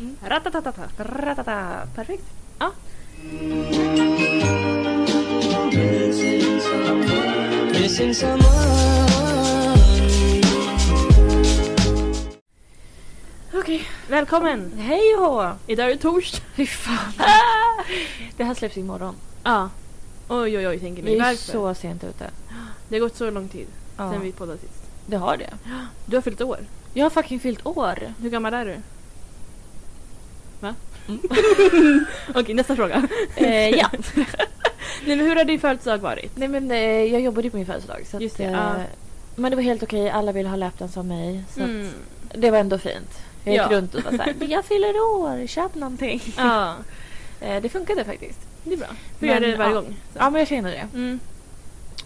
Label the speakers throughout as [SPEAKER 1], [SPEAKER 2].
[SPEAKER 1] Mm. Ratatatata, ratatata. Perfekt. Ja.
[SPEAKER 2] Missing someone.
[SPEAKER 1] Okej. Välkommen!
[SPEAKER 3] Hej och hå!
[SPEAKER 1] Idag är det torsdag.
[SPEAKER 3] Fy fan. Det här släpps imorgon.
[SPEAKER 1] Ja. Oj oj oj tänker ni.
[SPEAKER 3] Vi är
[SPEAKER 1] Varför?
[SPEAKER 3] så sent ute.
[SPEAKER 1] Det har gått så lång tid
[SPEAKER 3] Ja.
[SPEAKER 1] sen vi poddade sist.
[SPEAKER 3] Det har det.
[SPEAKER 1] Du har fyllt år.
[SPEAKER 3] Jag har fucking fyllt år.
[SPEAKER 1] Hur gammal är du? Va? Mm. Okej, nästa fråga.
[SPEAKER 3] Eh, ja.
[SPEAKER 1] Nej men hur har din födelsedag varit?
[SPEAKER 3] Nej men eh, jag jobbade ju på min födelsedag. Så
[SPEAKER 1] Just
[SPEAKER 3] att,
[SPEAKER 1] det,
[SPEAKER 3] eh,
[SPEAKER 1] ja.
[SPEAKER 3] Men det var helt okej. Alla ville ha laptops som mig. Så att det var ändå fint. Jag gick
[SPEAKER 1] Mm. Ja.
[SPEAKER 3] runt och var såhär, jag fyller år, köp någonting.
[SPEAKER 1] Ja,
[SPEAKER 3] Eh, det funkade faktiskt.
[SPEAKER 1] det är bra. Du
[SPEAKER 3] Men,
[SPEAKER 1] gör det varje
[SPEAKER 3] ja.
[SPEAKER 1] gång. så.
[SPEAKER 3] Ja men jag känner det.
[SPEAKER 1] Mm.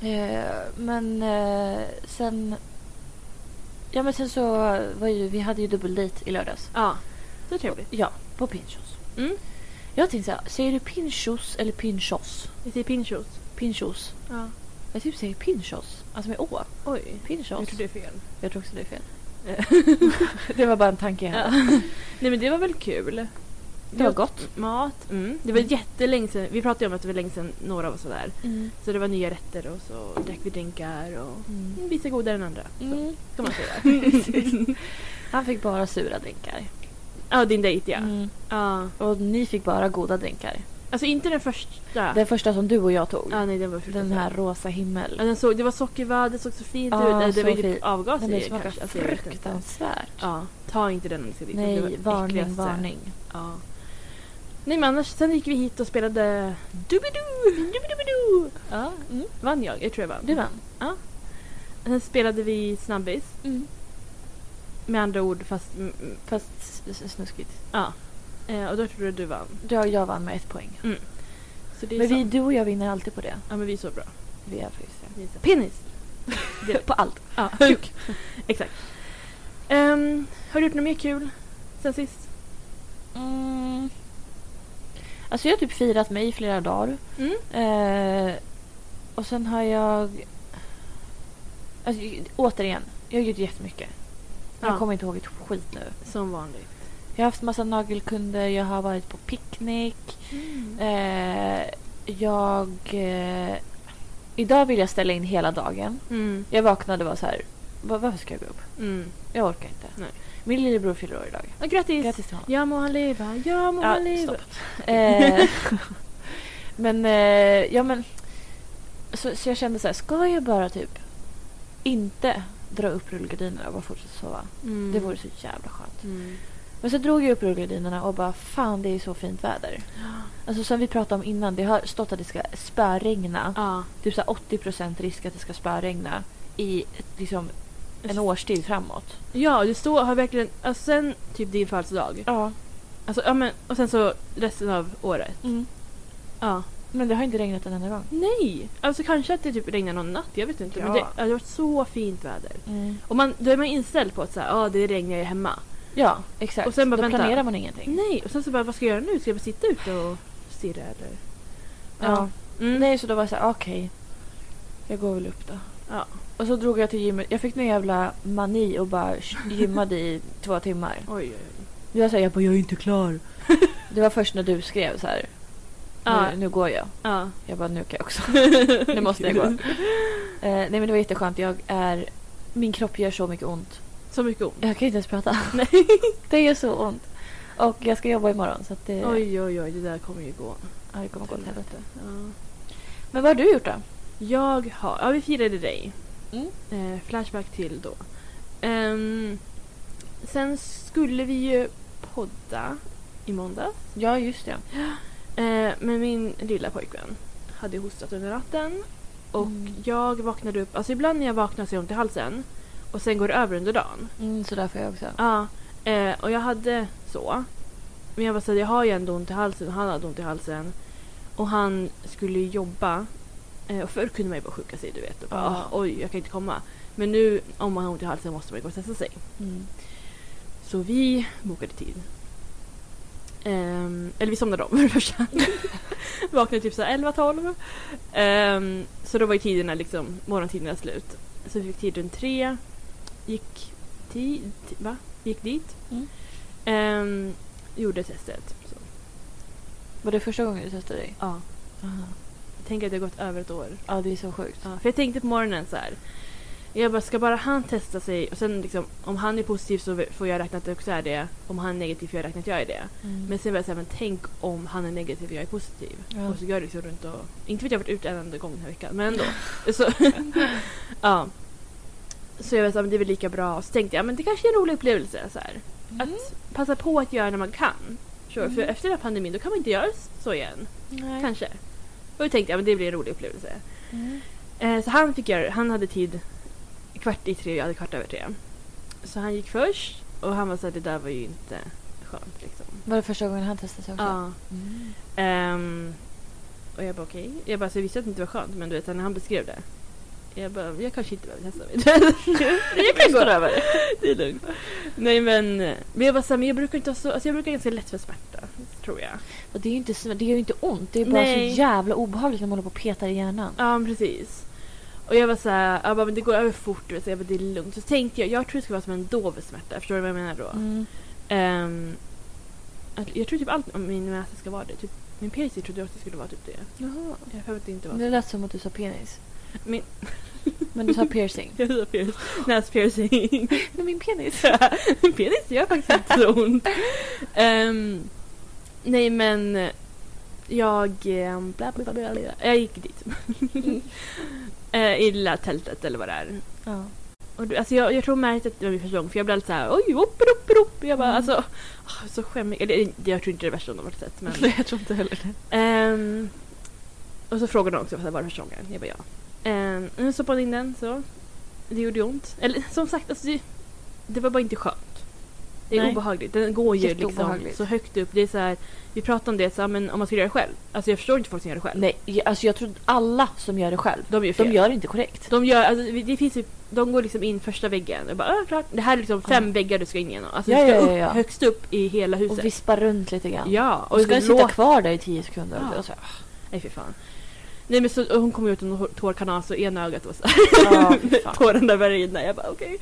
[SPEAKER 3] Eh, men eh, sen... Ja men sen så var ju, vi hade ju dubbeldejt i lördags.
[SPEAKER 1] Ja, så trevligt.
[SPEAKER 3] Ja, på Pinchos.
[SPEAKER 1] Mm.
[SPEAKER 3] Jag tänkte såhär, säger du Pinchos eller Pinchos?
[SPEAKER 1] Jag säger pinchos.
[SPEAKER 3] Pinchos.
[SPEAKER 1] Ja.
[SPEAKER 3] Jag typ säger Pinchos. Alltså med Å.
[SPEAKER 1] Oj,
[SPEAKER 3] Pinchos.
[SPEAKER 1] jag tror det är fel.
[SPEAKER 3] Jag tror också det är fel. det var bara en tanke jag
[SPEAKER 1] Ja.
[SPEAKER 3] hade.
[SPEAKER 1] Nej men det var väl kul.
[SPEAKER 3] Det var gott.
[SPEAKER 1] Mat. Mm. Det var jättelänge sedan. Vi pratade ju om att det var länge sedan några av oss var där. Så det var nya rätter och så drack vi drinkar och
[SPEAKER 3] Mm.
[SPEAKER 1] vissa godare än andra. Så
[SPEAKER 3] Mm.
[SPEAKER 1] kan man säga.
[SPEAKER 3] Han fick bara sura drinkar.
[SPEAKER 1] Ja, din dejt ja.
[SPEAKER 3] Mm.
[SPEAKER 1] ja.
[SPEAKER 3] Och ni fick bara goda drinkar.
[SPEAKER 1] Alltså inte den första.
[SPEAKER 3] Den första som du och jag tog.
[SPEAKER 1] ja, nej, den var
[SPEAKER 3] Den
[SPEAKER 1] fruktansvärd.
[SPEAKER 3] här rosa
[SPEAKER 1] Ja,
[SPEAKER 3] himmel.
[SPEAKER 1] den såg, det var sockervadd, det såg så fint
[SPEAKER 3] Ja,
[SPEAKER 1] ut. Det,
[SPEAKER 3] så
[SPEAKER 1] det var ju
[SPEAKER 3] fint.
[SPEAKER 1] typ avgaser
[SPEAKER 3] Den
[SPEAKER 1] i
[SPEAKER 3] där
[SPEAKER 1] den
[SPEAKER 3] smakar
[SPEAKER 1] kanske. Alltså, jag vet inte.
[SPEAKER 3] fruktansvärt.
[SPEAKER 1] Ja, ta inte den om ni ska dit. Det var
[SPEAKER 3] Nej,
[SPEAKER 1] det
[SPEAKER 3] varning,
[SPEAKER 1] äckligaste.
[SPEAKER 3] varning.
[SPEAKER 1] Ja. Nej men annars, sen gick vi hit och spelade Doobidoo! Doobidoo! Ja,
[SPEAKER 3] Mm.
[SPEAKER 1] vann jag? Jag tror jag vann.
[SPEAKER 3] Du vann.
[SPEAKER 1] Sen spelade vi Snabbis. Med andra ord, fast... mm, mm,
[SPEAKER 3] Fast s- s- snuskigt.
[SPEAKER 1] Ja. Eh, och då tror jag du vann.
[SPEAKER 3] Jag, jag vann med ett poäng.
[SPEAKER 1] Så det är
[SPEAKER 3] Men vi,
[SPEAKER 1] sant.
[SPEAKER 3] du och jag vinner alltid på det.
[SPEAKER 1] Ja men vi är så bra.
[SPEAKER 3] Vi är faktiskt det.
[SPEAKER 1] Vi är så- Penis!
[SPEAKER 3] På allt.
[SPEAKER 1] Ja, kuk. Exakt. Ehm, har du gjort något mer kul sen sist?
[SPEAKER 3] Mm. Alltså jag har typ firat mig i flera dagar.
[SPEAKER 1] Mm.
[SPEAKER 3] Eh, och sen har jag... Alltså, j- återigen, jag har gjort jättemycket.
[SPEAKER 1] Ja.
[SPEAKER 3] Men Jag kommer inte ihåg ett skit nu.
[SPEAKER 1] Som vanligt.
[SPEAKER 3] Jag har haft massa nagelkunder, jag har varit på picknick. Eh, jag... Eh, idag vill jag ställa in hela dagen.
[SPEAKER 1] Mm.
[SPEAKER 3] Jag vaknade och var så här, "Va- varför ska jag gå upp?
[SPEAKER 1] Mm.
[SPEAKER 3] Jag orkar inte.
[SPEAKER 1] Nej.
[SPEAKER 3] Min lillebror fyller år idag.
[SPEAKER 1] Och grattis!
[SPEAKER 3] Grattis till honom.
[SPEAKER 1] Ja må han leva, ja må han
[SPEAKER 3] Ja,
[SPEAKER 1] leva.
[SPEAKER 3] stopp. Eh, men, eh, ja men. Så, så jag kände så här, ska jag bara typ inte dra upp rullgardinerna och bara fortsätta sova?
[SPEAKER 1] Mm.
[SPEAKER 3] Det vore så jävla skönt.
[SPEAKER 1] Mm.
[SPEAKER 3] Men så drog jag upp rullgardinerna och bara, fan det är så fint väder. Alltså som vi pratade om innan, det har stått att det ska spöregna.
[SPEAKER 1] Ja.
[SPEAKER 3] Typ så här 80% risk att det ska spöregna i liksom en årstid framåt.
[SPEAKER 1] Ja, det står, har verkligen, alltså sen typ din födelsedag.
[SPEAKER 3] Ja.
[SPEAKER 1] Alltså, ja men, och sen så resten av året.
[SPEAKER 3] Mm.
[SPEAKER 1] Ja.
[SPEAKER 3] Men det har inte regnat en enda gång.
[SPEAKER 1] Nej! Alltså kanske att det typ regnar någon natt, jag vet inte. Men
[SPEAKER 3] Ja.
[SPEAKER 1] det, ja, det har varit så fint väder. Och man, då är man inställd på att säga, ja det regnar ju hemma.
[SPEAKER 3] Ja, exakt.
[SPEAKER 1] Och sen bara,
[SPEAKER 3] Då
[SPEAKER 1] vänta.
[SPEAKER 3] planerar man ingenting.
[SPEAKER 1] Nej, och sen så bara, vad ska jag göra nu? Ska jag bara sitta ute och stirra eller?
[SPEAKER 3] Ja.
[SPEAKER 1] Mm.
[SPEAKER 3] Nej, så då var jag så här, "Ah, okej. Jag går väl upp då.
[SPEAKER 1] Ja.
[SPEAKER 3] Och så drog jag till gymmet. Jag fick någon jävla mani och bara sh- gymmade i två timmar.
[SPEAKER 1] Oj, oj, oj.
[SPEAKER 3] Det var så här, jag bara, jag är inte klar. Det var först när du skrev så här,
[SPEAKER 1] Ja,
[SPEAKER 3] nu, nu går jag.
[SPEAKER 1] ja.
[SPEAKER 3] Jag bara, nu kan jag också. nu måste jag gå. Eh, nej men det var jätteskönt. Jag är, min kropp gör så mycket ont.
[SPEAKER 1] Så mycket ont.
[SPEAKER 3] Jag kan inte ens prata. Nej. det gör så ont. Och jag ska jobba imorgon så att det,
[SPEAKER 1] Oj, oj, oj, det där kommer ju gå.
[SPEAKER 3] ja, det kommer gå åt helvete.
[SPEAKER 1] Ja.
[SPEAKER 3] Men vad har du gjort då?
[SPEAKER 1] Jag har... Ja, vi firade dig.
[SPEAKER 3] Mm.
[SPEAKER 1] Eh, flashback till då. Ehm, sen skulle vi ju podda i måndags.
[SPEAKER 3] Ja, just det.
[SPEAKER 1] Eh, men min lilla pojkvän hade hostat under natten. Och
[SPEAKER 3] Mm.
[SPEAKER 1] jag vaknade upp... Alltså ibland när jag vaknar så är jag ont i halsen. Och sen går det över under dagen.
[SPEAKER 3] Mm, så där får jag också.
[SPEAKER 1] Ja. Eh, och jag hade så. Men jag var såhär, jag har ju ändå ont i halsen och han hade ont i halsen. Och han skulle ju jobba. Eh, och förr kunde man ju bara sjuka sig du vet. Och bara,
[SPEAKER 3] Ja.
[SPEAKER 1] "Ah, Oj, jag kan inte komma. Men nu om man har ont i halsen måste man ju gå och testa sig.
[SPEAKER 3] Mm.
[SPEAKER 1] Så vi bokade tid. Ehm, eller vi somnade om för det första. Vaknade typ såhär 11-12. Ehm, så då var ju tiderna liksom, morgontiderna slut. Så vi fick tid runt tre. Gick, ti, ti, va? gick dit.
[SPEAKER 3] Mm.
[SPEAKER 1] Ehm, gjorde testet. Så.
[SPEAKER 3] Var det första gången du testade dig?
[SPEAKER 1] Ja. Tänk att det har gått över ett år.
[SPEAKER 3] Ja, det är så sjukt.
[SPEAKER 1] Ja, för jag tänkte på morgonen så här. Jag bara, ska bara han testa sig och sen liksom, om han är positiv så får jag räkna att det också är det. Om han är negativ får jag räkna att jag är det. Men sen var jag såhär, men tänk om han är negativ och jag är positiv.
[SPEAKER 3] Ja.
[SPEAKER 1] Och så går jag liksom runt och... Inte vet jag har varit ute en enda gång den här veckan, men ändå. så, ja. så jag var såhär, men det är väl lika bra. Och så tänkte jag, men det kanske är en rolig upplevelse. Så här.
[SPEAKER 3] Mm.
[SPEAKER 1] Att passa på att göra när man kan. Sure,
[SPEAKER 3] Mm.
[SPEAKER 1] För efter den här pandemin, då kan man inte göra så igen.
[SPEAKER 3] Nej.
[SPEAKER 1] Kanske. Och då tänkte jag, men det blir en rolig upplevelse.
[SPEAKER 3] Mm.
[SPEAKER 1] Eh, så han fick göra, han hade tid kvart i tre och jag hade kvart över tre. Så han gick först och han var såhär, det där var ju inte skönt liksom.
[SPEAKER 3] Var det första gången han testade sig också?
[SPEAKER 1] Ja.
[SPEAKER 3] Mm.
[SPEAKER 1] Ehm, och jag bara okej. Jag bara, så jag visste att det inte var skönt men du vet när han beskrev det. Jag bara, jag kanske inte behöver testa mig. jag kan gå över. Det är lugnt. Nej men, men jag bara så här, men jag brukar inte ha så, alltså jag brukar ganska lätt för smärta. Tror jag.
[SPEAKER 3] Och det är ju inte, så- det gör ju inte ont. Det är bara
[SPEAKER 1] Nej.
[SPEAKER 3] så jävla obehagligt när man håller på och petar i hjärnan.
[SPEAKER 1] Ja men precis. Och jag var så här, jag bara, men det går över fort du vet. Så jag bara, det är lugnt. Så tänkte jag, jag tror det ska vara som en dov smärta. Förstår du vad jag menar då?
[SPEAKER 3] Mm.
[SPEAKER 1] Ehm, att, jag tror typ allt om min näsa ska vara det. Typ, min piercing trodde jag också skulle vara typ det.
[SPEAKER 3] Jaha.
[SPEAKER 1] Jag har för mig att det inte var
[SPEAKER 3] Det lät som att du sa penis.
[SPEAKER 1] Min-
[SPEAKER 3] Men du sa piercing.
[SPEAKER 1] Jag har piercing. Näspiercing.
[SPEAKER 3] Men min penis.
[SPEAKER 1] Penis gör faktiskt inte så ont. Ehm, nej men jag... eh, Bla, bla, bla, bla, bla. Jag gick dit. Eh, I det lilla tältet eller vad det är.
[SPEAKER 3] Ja.
[SPEAKER 1] Och du, alltså jag, jag tror märkt att det var min första gång för jag blev alltid såhär oj, upp, upp, upp. Jag bara
[SPEAKER 3] Mm.
[SPEAKER 1] alltså... ah, Så skämmig. Eller det- jag tror inte det är det värsta de har sett men...
[SPEAKER 3] Nej, jag tror inte heller det.
[SPEAKER 1] Ehm, och så frågade de också vad det var första gången. Jag bara ja. Ehm, nu stoppade jag in den så. Det gjorde ont. Eller som sagt, alltså, det, det var bara inte skönt. Det är
[SPEAKER 3] Nej.
[SPEAKER 1] obehagligt. Den går ju liksom
[SPEAKER 3] Jätteobehagligt.
[SPEAKER 1] så högt upp. Det är så här, vi pratade om det, så här, men om man skulle göra det själv. Alltså jag förstår inte folk som gör det själv.
[SPEAKER 3] Nej, jag- alltså jag tror alla som gör det själv,
[SPEAKER 1] De gör fel.
[SPEAKER 3] de gör det inte korrekt.
[SPEAKER 1] De, gör, alltså, vi- det finns, ju- de går liksom in första väggen. Och bara, "Ah, klart. Det här är liksom fem
[SPEAKER 3] Ja.
[SPEAKER 1] väggar du ska in genom. Alltså,
[SPEAKER 3] Ja,
[SPEAKER 1] du ska
[SPEAKER 3] ja, ja,
[SPEAKER 1] upp,
[SPEAKER 3] ja.
[SPEAKER 1] högst upp i hela huset.
[SPEAKER 3] Och vispar runt lite grann.
[SPEAKER 1] ja,
[SPEAKER 3] Och ska
[SPEAKER 1] det
[SPEAKER 3] den sitta
[SPEAKER 1] låter-
[SPEAKER 3] kvar där i tio sekunder.
[SPEAKER 1] Ja.
[SPEAKER 3] Och så,
[SPEAKER 1] Nej fy fan. Nej men så, och hon kom ut med en hår- tårkanal så ena ögat var så
[SPEAKER 3] Ja, fy
[SPEAKER 1] här.
[SPEAKER 3] fan.
[SPEAKER 1] Tårarna började rinna. Jag bara okej.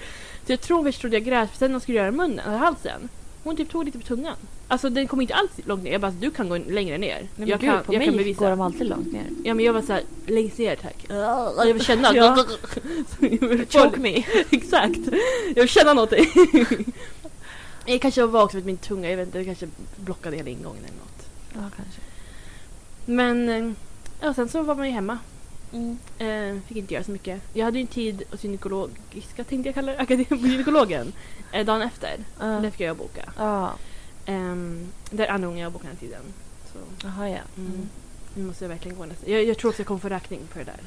[SPEAKER 1] Så jag tror först trodde jag grät för sen när hon skulle göra munnen, eller halsen. Hon typ tog lite på tungan. Alltså den kom inte alls långt ner. Jag bara du kan gå längre ner.
[SPEAKER 3] Nej, men
[SPEAKER 1] jag
[SPEAKER 3] gud,
[SPEAKER 1] kan,
[SPEAKER 3] på
[SPEAKER 1] jag
[SPEAKER 3] mig
[SPEAKER 1] kan
[SPEAKER 3] går
[SPEAKER 1] bevisa.
[SPEAKER 3] de alltid långt ner.
[SPEAKER 1] Ja men jag var såhär längst ner tack. Och jag vill känna. att-
[SPEAKER 3] Ja.
[SPEAKER 1] Så jag vill
[SPEAKER 3] Choke
[SPEAKER 1] få-
[SPEAKER 3] me.
[SPEAKER 1] Exakt. Jag vill känna någonting. jag kanske var vaken med min tunga. Jag vet inte, jag kanske blockade hela ingången eller något.
[SPEAKER 3] Ja, kanske.
[SPEAKER 1] Men eh, ja, sen så var man ju hemma. Eh, fick inte göra så mycket. Jag hade ju en tid hos gynekologiska, tänkte jag kalla det, akadem- gynekologen. Eh, dagen efter.
[SPEAKER 3] Ja.
[SPEAKER 1] Där fick jag boka.
[SPEAKER 3] Ja,
[SPEAKER 1] Ehm, där anordnade jag bokade den tiden. Så
[SPEAKER 3] jaha ja.
[SPEAKER 1] mm. nu måste jag verkligen gå nästa. Jag, jag tror också jag kom för räkning på det där.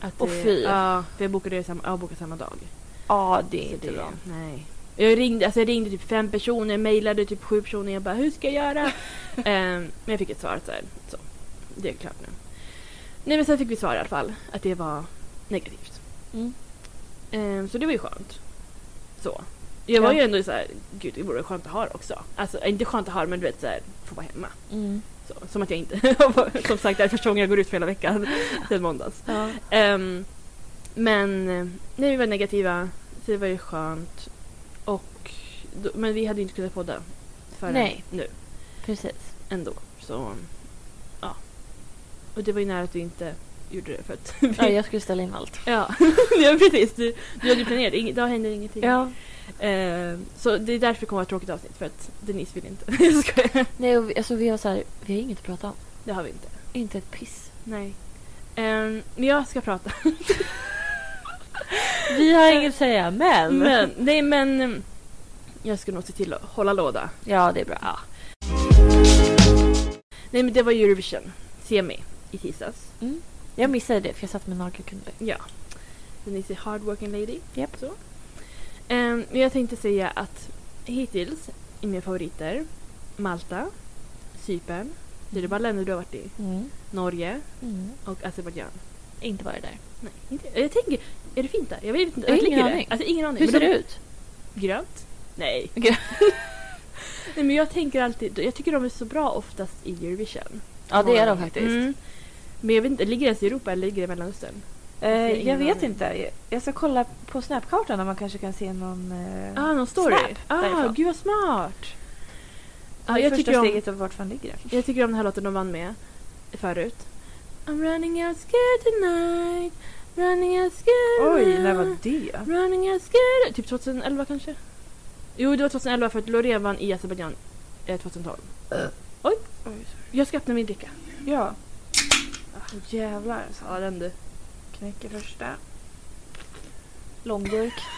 [SPEAKER 1] Att
[SPEAKER 3] Åh,
[SPEAKER 1] det-
[SPEAKER 3] fy.
[SPEAKER 1] Ja, för jag bokade, det samma, jag bokade samma dag.
[SPEAKER 3] Ja, det är
[SPEAKER 1] Så
[SPEAKER 3] inte
[SPEAKER 1] det-
[SPEAKER 3] bra.
[SPEAKER 1] Nej. Jag ringde, alltså jag ringde typ fem personer, mejlade typ sju personer. Jag bara, hur ska jag göra? Ehm, men jag fick ett svar så, här, så. Det är klart nu. Nej men sen fick vi svar i alla fall att det var negativt.
[SPEAKER 3] Mm.
[SPEAKER 1] Ehm, så det var ju skönt. Så. Jag var
[SPEAKER 3] Ja.
[SPEAKER 1] ju ändå så här, gud det vore skönt att ha det också. Alltså inte skönt att ha det, men du vet så här, få vara hemma.
[SPEAKER 3] Mm.
[SPEAKER 1] Så, som att jag inte, som sagt det är första gången jag går ut för hela veckan. Sen måndags.
[SPEAKER 3] Ja.
[SPEAKER 1] Ehm, men eh, nej, vi var negativa, så det var ju skönt. Och, då, men vi hade ju inte kunnat podda förrän
[SPEAKER 3] Nej.
[SPEAKER 1] nu
[SPEAKER 3] Precis.
[SPEAKER 1] ändå. Så ja. Och det var ju nära att vi inte gjorde det för att
[SPEAKER 3] Ja,
[SPEAKER 1] vi,
[SPEAKER 3] jag skulle ställa in allt.
[SPEAKER 1] Ja, ja precis. Du, du hade ju planerat. Ing, då händer ingenting.
[SPEAKER 3] Ja.
[SPEAKER 1] Eh, så det är därför det kommer att vara ett tråkigt avsnitt. För att Denise vill inte. Jag skojar.
[SPEAKER 3] Nej, och vi, alltså, vi, har så här, vi har inget att prata om.
[SPEAKER 1] Det har vi inte.
[SPEAKER 3] Inte ett piss.
[SPEAKER 1] Nej. Eh, men jag ska prata.
[SPEAKER 3] Vi har inget att säga, men...
[SPEAKER 1] Men, nej men. eh, Jag ska nog se till att hålla låda.
[SPEAKER 3] Ja, det är bra.
[SPEAKER 1] Ja. Nej men det var Eurovision. Semi. I tisdags.
[SPEAKER 3] Jag missade det för jag satt med nagelkunder.
[SPEAKER 1] Ja. Denise är hardworking lady.
[SPEAKER 3] Japp.
[SPEAKER 1] Så. Eh, men jag tänkte säga att hittills är mina favoriter Malta, Cypern. Det är det bara länder du har varit i.
[SPEAKER 3] Mm.
[SPEAKER 1] Norge
[SPEAKER 3] Mm.
[SPEAKER 1] och Azerbajdzjan.
[SPEAKER 3] Inte var det där.
[SPEAKER 1] Nej, inte. Jag tänker, är det fint där? Jag vet inte.
[SPEAKER 3] Jag har
[SPEAKER 1] vart
[SPEAKER 3] ingen
[SPEAKER 1] ligger det?
[SPEAKER 3] aning.
[SPEAKER 1] Alltså, ingen aning.
[SPEAKER 3] Hur
[SPEAKER 1] Men
[SPEAKER 3] ser
[SPEAKER 1] de-
[SPEAKER 3] det ut?
[SPEAKER 1] Grönt? Nej.
[SPEAKER 3] Grönt.
[SPEAKER 1] Nej men jag tänker alltid, jag tycker de är så bra oftast i Eurovision.
[SPEAKER 3] Ja, det är de faktiskt.
[SPEAKER 1] Mm. Men jag vet inte, ligger det ens i Europa eller ligger det i Mellanöstern?
[SPEAKER 2] Eh,
[SPEAKER 1] Jag har
[SPEAKER 2] jag
[SPEAKER 1] ingen
[SPEAKER 2] vet
[SPEAKER 1] aning.
[SPEAKER 2] inte. Jag ska kolla på snapkartan om man kanske kan se någon... Eh...
[SPEAKER 1] Ah, någon story?
[SPEAKER 2] Snap
[SPEAKER 1] ah,
[SPEAKER 2] därifrån.
[SPEAKER 1] gud vad smart! Ja,
[SPEAKER 2] det
[SPEAKER 1] jag
[SPEAKER 2] första
[SPEAKER 1] tycker om-
[SPEAKER 2] steget av vart fan ligger det?
[SPEAKER 1] Jag tycker om den här låten de vann med förut. I'm running out scared tonight. Running out scared
[SPEAKER 2] Oj,
[SPEAKER 1] now.
[SPEAKER 2] när var det?
[SPEAKER 1] Running out scared. Typ 2011 kanske? Jo, det var 2011 för att Loreen vann i Azerbajdzjan eh, 2012. Oj! Jag ska öppna min dricka.
[SPEAKER 2] Ja, Ah,
[SPEAKER 1] Jävlar. Ja, den du.
[SPEAKER 2] knäcker första.
[SPEAKER 3] Långburk.